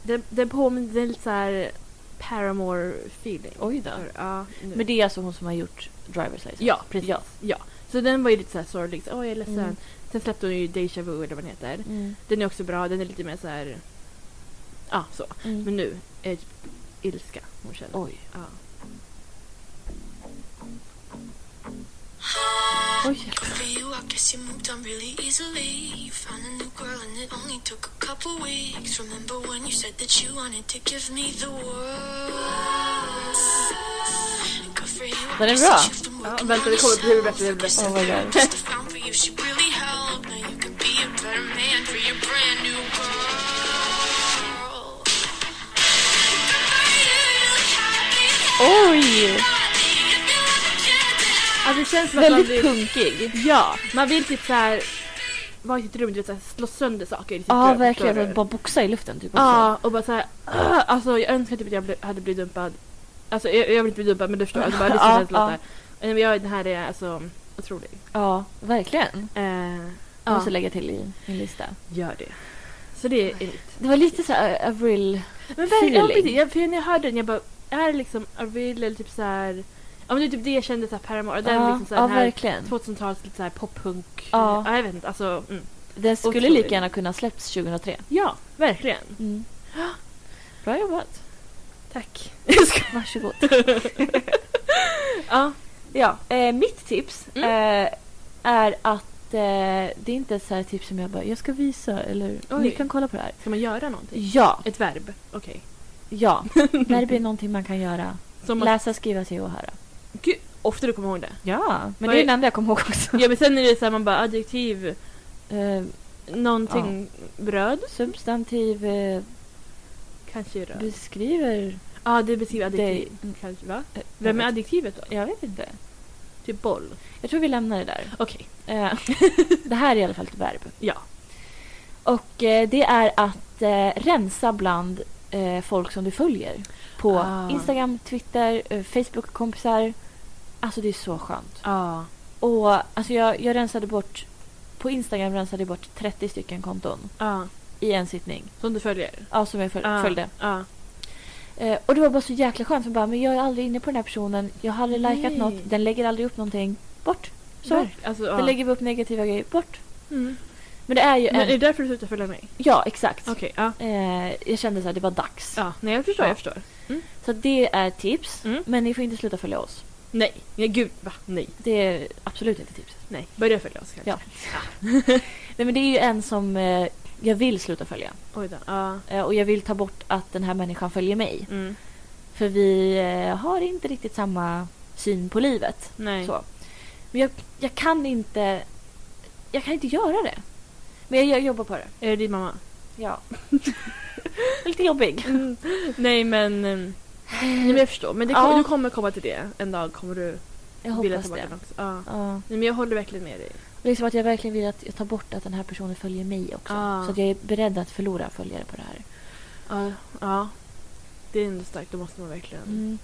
[SPEAKER 1] Den, den påminner den är lite såhär Paramore-feeling.
[SPEAKER 3] Oj då.
[SPEAKER 1] För- Ja, nu.
[SPEAKER 3] Men det är alltså hon som har gjort Driver's License?
[SPEAKER 1] Ja, precis.
[SPEAKER 3] Ja.
[SPEAKER 1] ja. Så den var ju lite såhär sorglig. så, Åh, jag är ledsen.
[SPEAKER 3] Mm.
[SPEAKER 1] Sen släppte hon ju Deja Vu eller vad den heter. Den är också bra. Den är lite mer så här... Ja, så.
[SPEAKER 3] Mm.
[SPEAKER 1] Men nu är det ilska hon känner.
[SPEAKER 3] Oj.
[SPEAKER 1] Ja.
[SPEAKER 3] Oj.
[SPEAKER 4] Good for you, I guess you moved on really easily. You found a new girl and it only took a couple weeks. Remember when you said that you wanted to give me the world? Good for you, I
[SPEAKER 3] Den är
[SPEAKER 4] guess
[SPEAKER 3] bra.
[SPEAKER 4] that you've been working
[SPEAKER 1] vänta,
[SPEAKER 4] on
[SPEAKER 1] det kommer bli bättre,
[SPEAKER 4] yourself.
[SPEAKER 1] bättre.
[SPEAKER 4] Guess
[SPEAKER 3] Oh my God.
[SPEAKER 4] if you're just the found for you, she really helped. Now you could be a better man for your brand new girl. Good for you, you really
[SPEAKER 3] Oj!
[SPEAKER 4] helped me.
[SPEAKER 1] Alltså det känns som att man
[SPEAKER 3] Väldigt
[SPEAKER 1] vill...
[SPEAKER 3] punkig.
[SPEAKER 1] Ja, man vill typ såhär vara i sitt rum, du vet, så här, slå sönder saker i sitt
[SPEAKER 3] Ja,
[SPEAKER 1] rum.
[SPEAKER 3] verkligen.
[SPEAKER 1] förstår
[SPEAKER 3] Att
[SPEAKER 1] du?
[SPEAKER 3] bara boxa i luften typ.
[SPEAKER 1] Ja, och bara såhär... Uh, alltså jag önskar typ att jag ble, hade blivit dumpad. Alltså jag, jag vill inte bli dumpad men du förstår. Alltså, bara lyssna på
[SPEAKER 3] Ja,
[SPEAKER 1] hennes låtar. Nej, Eh, men Jag, den här är alltså otrolig.
[SPEAKER 3] ja verkligen.
[SPEAKER 1] Eh,
[SPEAKER 3] Jag
[SPEAKER 1] ja,
[SPEAKER 3] måste lägga till i min lista.
[SPEAKER 1] gör det. Så det är mitt.
[SPEAKER 3] Det var lite så här Avril...
[SPEAKER 1] Men verkligen, ja,
[SPEAKER 3] Feeling.
[SPEAKER 1] precis. jag, för när jag hörde den jag bara, är det liksom Avril eller typ såhär... Ja men det är typ det jag kände såhär Paramore. Den
[SPEAKER 3] Ja,
[SPEAKER 1] liksom såhär,
[SPEAKER 3] ja
[SPEAKER 1] den här
[SPEAKER 3] verkligen.
[SPEAKER 1] 2000-tals lite såhär poppunk.
[SPEAKER 3] Ja.
[SPEAKER 1] jag vet inte. Alltså, mm.
[SPEAKER 3] Den skulle
[SPEAKER 1] otrolig.
[SPEAKER 3] lika gärna kunna släppts 2003.
[SPEAKER 1] Ja, verkligen.
[SPEAKER 3] Mm. Bra jobbat.
[SPEAKER 1] Tack.
[SPEAKER 3] Varsågod.
[SPEAKER 1] Ja.
[SPEAKER 3] Ja, eh, mitt tips eh, är att eh, det är inte ett så här tips som jag bara jag ska visa eller
[SPEAKER 1] Oj.
[SPEAKER 3] ni kan kolla på det här.
[SPEAKER 1] Ska man göra någonting?
[SPEAKER 3] Ja,
[SPEAKER 1] Ett verb. Okej.
[SPEAKER 3] ja. Verb är någonting man kan göra.
[SPEAKER 1] Som man-
[SPEAKER 3] Läsa, skriva, se och höra.
[SPEAKER 1] Gud, ofta du kommer ihåg det.
[SPEAKER 3] Ja, men
[SPEAKER 1] Vad
[SPEAKER 3] det
[SPEAKER 1] är-
[SPEAKER 3] är den enda jag kommer ihåg också.
[SPEAKER 1] Ja men sen är det såhär man bara adjektiv,
[SPEAKER 3] Eh,
[SPEAKER 1] någonting bröd.
[SPEAKER 3] substantiv eh,
[SPEAKER 1] Kanske röd. Ja
[SPEAKER 3] beskriver...
[SPEAKER 1] det beskriver adjektiv.
[SPEAKER 3] Det- mm.
[SPEAKER 1] Kanske, va?
[SPEAKER 3] eh,
[SPEAKER 1] Vem är
[SPEAKER 3] jag vet-
[SPEAKER 1] adjektivet då?
[SPEAKER 3] Jag vet inte.
[SPEAKER 1] Typ boll.
[SPEAKER 3] Jag tror vi lämnar det där.
[SPEAKER 1] Okej.
[SPEAKER 3] Eh, det här är i alla fall ett verb.
[SPEAKER 1] Ja.
[SPEAKER 3] Och eh, det är att eh, rensa bland eh, folk som du följer. På
[SPEAKER 1] Ah.
[SPEAKER 3] Instagram, Twitter, eh, Facebook-kompisar. Alltså det är så skönt.
[SPEAKER 1] Ja.
[SPEAKER 3] Och alltså jag, jag rensade bort... På Instagram rensade jag bort 30 stycken konton
[SPEAKER 1] Ja.
[SPEAKER 3] i en sittning.
[SPEAKER 1] Som du följer?
[SPEAKER 3] Ja, som jag föl-
[SPEAKER 1] Ja.
[SPEAKER 3] följde.
[SPEAKER 1] Ja.
[SPEAKER 3] Eh, och det var bara så jäkla skönt. För bara, men jag är aldrig inne på den här personen. Jag har aldrig likat
[SPEAKER 1] Nej.
[SPEAKER 3] något. Den lägger aldrig upp någonting. Bort. Så.
[SPEAKER 1] Verk- Alltså, ja.
[SPEAKER 3] Den lägger upp negativa grejer. Bort.
[SPEAKER 1] Mm.
[SPEAKER 3] Men det är ju
[SPEAKER 1] Men är
[SPEAKER 3] en...
[SPEAKER 1] det därför du slutar följa mig?
[SPEAKER 3] Ja, exakt.
[SPEAKER 1] Okej, ja.
[SPEAKER 3] Eh, jag kände så här, det var dags.
[SPEAKER 1] ja. Nej jag förstår,
[SPEAKER 3] Ja.
[SPEAKER 1] jag förstår.
[SPEAKER 3] Så det är tips.
[SPEAKER 1] Mm.
[SPEAKER 3] Men ni får inte sluta följa oss.
[SPEAKER 1] Nej, nej gud va? Nej.
[SPEAKER 3] Det är absolut inte tips.
[SPEAKER 1] Nej. Börja följa oss kanske.
[SPEAKER 3] Ja. Nej, men det är ju en som eh, jag vill sluta följa.
[SPEAKER 1] Oj då. Ja.
[SPEAKER 3] Eh, och jag vill ta bort att den här människan följer mig.
[SPEAKER 1] Mm.
[SPEAKER 3] För vi eh, har inte riktigt samma syn på livet.
[SPEAKER 1] Nej.
[SPEAKER 3] Så. Men jag, jag kan inte... Jag kan inte göra det. Men jag, jag jobbar på det.
[SPEAKER 1] Är det din mamma?
[SPEAKER 3] Ja. Lite jobbig.
[SPEAKER 1] Nej men, ehm, nej, men jag förstår. Men det
[SPEAKER 3] Ja.
[SPEAKER 1] kom, du kommer komma till det. En dag kommer du
[SPEAKER 3] Jag
[SPEAKER 1] vilja ta
[SPEAKER 3] hoppas
[SPEAKER 1] bort den
[SPEAKER 3] det.
[SPEAKER 1] också. Ja.
[SPEAKER 3] Ja.
[SPEAKER 1] Nej, men jag håller verkligen med dig.
[SPEAKER 3] Liksom att jag verkligen vill att jag tar bort att den här personen följer mig också.
[SPEAKER 1] Ah.
[SPEAKER 3] Så att jag är beredd att förlora följare på det här.
[SPEAKER 1] Ja. ja. Det är ändå starkt, då måste man verkligen.
[SPEAKER 3] Mm.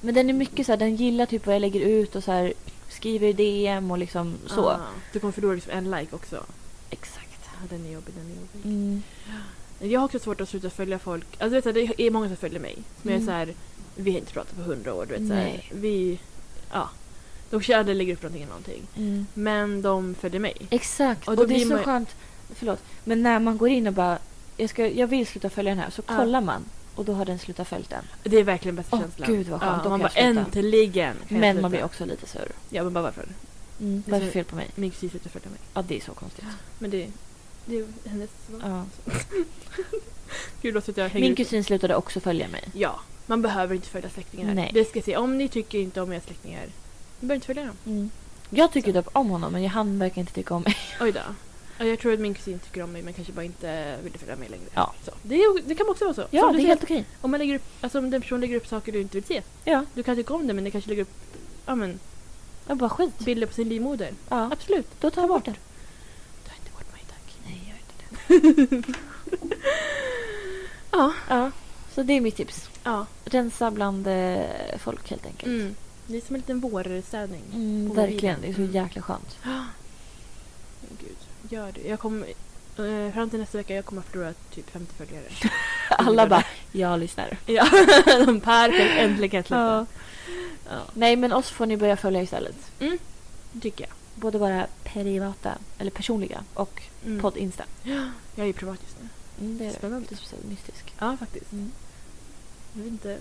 [SPEAKER 3] Men den är mycket så här, den gillar typ vad jag lägger ut och så här skriver i DM och liksom så.
[SPEAKER 1] Ja. Du kommer förlora liksom en like också.
[SPEAKER 3] Exakt.
[SPEAKER 1] Ja, den är jobbig, den är jobbig.
[SPEAKER 3] Mm.
[SPEAKER 1] Jag har också svårt att sluta följa folk. Alltså, vet du, det är många som följer mig. Som är
[SPEAKER 3] Mm.
[SPEAKER 1] så här, vi har inte pratat på hundra år. Du vet, så här,
[SPEAKER 3] Nej.
[SPEAKER 1] vi, ja. De kanske aldrig lägger upp någonting eller någonting.
[SPEAKER 3] Mm.
[SPEAKER 1] Men de följer mig.
[SPEAKER 3] Exakt.
[SPEAKER 1] Och
[SPEAKER 3] Och,
[SPEAKER 1] då
[SPEAKER 3] det är
[SPEAKER 1] blir
[SPEAKER 3] så
[SPEAKER 1] man ju-
[SPEAKER 3] skönt. Förlåt. Men när man går in och bara, jag, ska, jag vill sluta följa den här. Så
[SPEAKER 1] Ja.
[SPEAKER 3] kollar man och då har den slutat följa den.
[SPEAKER 1] Det är verkligen bästa
[SPEAKER 3] Åh,
[SPEAKER 1] känslan.
[SPEAKER 3] gud, vad skönt.
[SPEAKER 1] Ja,
[SPEAKER 3] Då
[SPEAKER 1] man
[SPEAKER 3] kan
[SPEAKER 1] bara
[SPEAKER 3] jag sluta.
[SPEAKER 1] äntligen kan jag
[SPEAKER 3] Men
[SPEAKER 1] sluta.
[SPEAKER 3] man blir också lite sur.
[SPEAKER 1] Ja men bara varför?
[SPEAKER 3] Mm.
[SPEAKER 1] Det är
[SPEAKER 3] Vad är det
[SPEAKER 1] så-
[SPEAKER 3] för fel på mig?
[SPEAKER 1] Min kusin slutar följa mig.
[SPEAKER 3] Ja, det är så konstigt.
[SPEAKER 1] Men det, det är hennes val.
[SPEAKER 3] Ja.
[SPEAKER 1] Gud låter att jag hänger
[SPEAKER 3] Min
[SPEAKER 1] ut-
[SPEAKER 3] kusin slutade också följa mig.
[SPEAKER 1] Ja, man behöver inte följa släktingar.
[SPEAKER 3] Nej.
[SPEAKER 1] Det ska jag säga. Om ni tycker inte om era släktingar, ni behöver inte följa dem.
[SPEAKER 3] Mm. Jag tycker dock om honom men han verkar inte tycka om mig.
[SPEAKER 1] Oj då. Ja, Jag tror att min kusin tycker om mig men kanske bara inte vill följa med längre.
[SPEAKER 3] Ja.
[SPEAKER 1] Så. Det, är, det kan också vara så.
[SPEAKER 3] Ja,
[SPEAKER 1] Som
[SPEAKER 3] det
[SPEAKER 1] du
[SPEAKER 3] är
[SPEAKER 1] säger,
[SPEAKER 3] helt okej.
[SPEAKER 1] om, man lägger upp, alltså om den personen lägger upp saker du inte vill se,
[SPEAKER 3] Ja.
[SPEAKER 1] du kan tycka om det men den kanske lägger upp ja, men,
[SPEAKER 3] Jag bara skit.
[SPEAKER 1] Bilder på sin livmoder.
[SPEAKER 3] Ja.
[SPEAKER 1] Absolut.
[SPEAKER 3] Då tar jag bort det.
[SPEAKER 1] Ta inte bort mig tack.
[SPEAKER 3] Nej, jag inte det.
[SPEAKER 1] Ja.
[SPEAKER 3] Ja, så det är mitt tips.
[SPEAKER 1] Ja.
[SPEAKER 3] Rensa bland eh, folk helt enkelt.
[SPEAKER 1] Mm. Det är som en liten vårstädning.
[SPEAKER 3] Mm,
[SPEAKER 1] På
[SPEAKER 3] verkligen, det är så
[SPEAKER 1] Mm.
[SPEAKER 3] jäkla skönt.
[SPEAKER 1] Ah. Gud, gör det. Jag kommer... eh, fram till nästa vecka jag kommer att förlora typ 50 följare.
[SPEAKER 3] Alla bara, jag lyssnar.
[SPEAKER 1] Ja, de perfekt. Äntligen släppta. Ja.
[SPEAKER 3] Nej, men oss får ni börja följa istället.
[SPEAKER 1] Tycker jag.
[SPEAKER 3] Både våra privata, eller personliga, och
[SPEAKER 1] Mm.
[SPEAKER 3] podd Insta.
[SPEAKER 1] Jag är ju privat just nu.
[SPEAKER 3] Mm, det är det.
[SPEAKER 1] Spännande.
[SPEAKER 3] Det är speciellt mystisk.
[SPEAKER 1] Ja, faktiskt.
[SPEAKER 3] Mm.
[SPEAKER 1] Jag vet inte...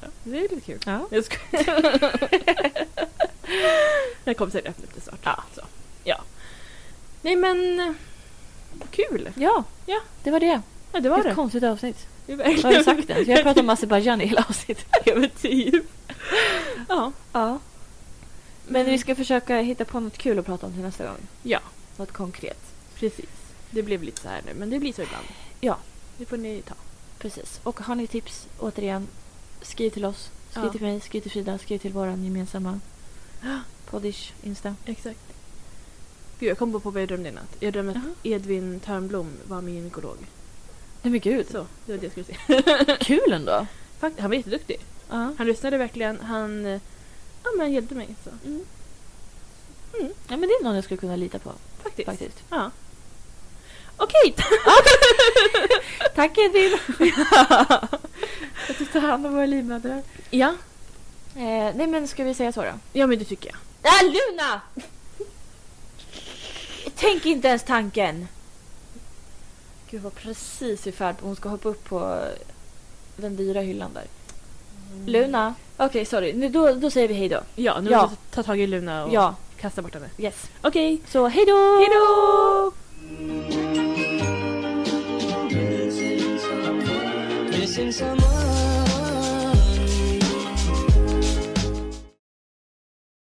[SPEAKER 1] Ja, det är lite kul.
[SPEAKER 3] Ja.
[SPEAKER 1] Jag skojar. jag kommer säkert öppna upp det snart. Ja. Så. ja. Nej men... Kul!
[SPEAKER 3] Ja,
[SPEAKER 1] Ja.
[SPEAKER 3] det var det.
[SPEAKER 1] Ja, det
[SPEAKER 3] Det
[SPEAKER 1] var
[SPEAKER 3] var ett
[SPEAKER 1] det.
[SPEAKER 3] konstigt avsnitt.
[SPEAKER 1] det
[SPEAKER 3] Jag har ju sagt det. Vi har pratat om Azerbajdzjan i hela avsnittet.
[SPEAKER 1] typ. Ja.
[SPEAKER 3] Ja. Men vi ska försöka hitta på något kul att prata om till nästa gång.
[SPEAKER 1] Ja.
[SPEAKER 3] Något konkret.
[SPEAKER 1] Precis. Det blev lite så här nu, men det blir så ibland.
[SPEAKER 3] Ja.
[SPEAKER 1] Det får ni ta.
[SPEAKER 3] Precis. Och har ni tips, återigen, skriv till oss. Skriv
[SPEAKER 1] Ja.
[SPEAKER 3] till mig, skriv till Frida, skriv till vår gemensamma poddish Insta.
[SPEAKER 1] Exakt. Gud, jag kom bara på vad jag drömde i natt. Jag drömde att
[SPEAKER 3] Jaha.
[SPEAKER 1] Edvin Törnblom var min gynekolog.
[SPEAKER 3] Nej men gud.
[SPEAKER 1] Så, det var det jag skulle säga.
[SPEAKER 3] Kul ändå.
[SPEAKER 1] Fakt, han var jätteduktig.
[SPEAKER 3] Ja.
[SPEAKER 1] Han lyssnade verkligen. Han eh, ja, men han hjälpte mig. Så.
[SPEAKER 3] Mm. ja men det är någon jag skulle kunna lita på
[SPEAKER 1] Faktiskt.
[SPEAKER 3] faktiskt.
[SPEAKER 1] Ja. Okej!
[SPEAKER 3] Tack Edvin!
[SPEAKER 1] jag tyckte hand om våra livmödrar. Ja.
[SPEAKER 3] Eh, nej men ska vi säga så då?
[SPEAKER 1] ja, men det tycker jag.
[SPEAKER 3] Ah, Luna! Tänk inte ens tanken! Gud var precis i färd på hon ska hoppa upp på den dyra hyllan där. Mm. Luna! Okej sorry, nu, då, då säger vi hej då.
[SPEAKER 1] Ja, nu
[SPEAKER 3] Ja.
[SPEAKER 1] måste vi ta tag i Luna och
[SPEAKER 3] Ja,
[SPEAKER 1] kasta bort henne.
[SPEAKER 3] yes.
[SPEAKER 1] Okej.
[SPEAKER 3] Så hej då! Hej då!
[SPEAKER 5] Missing someone.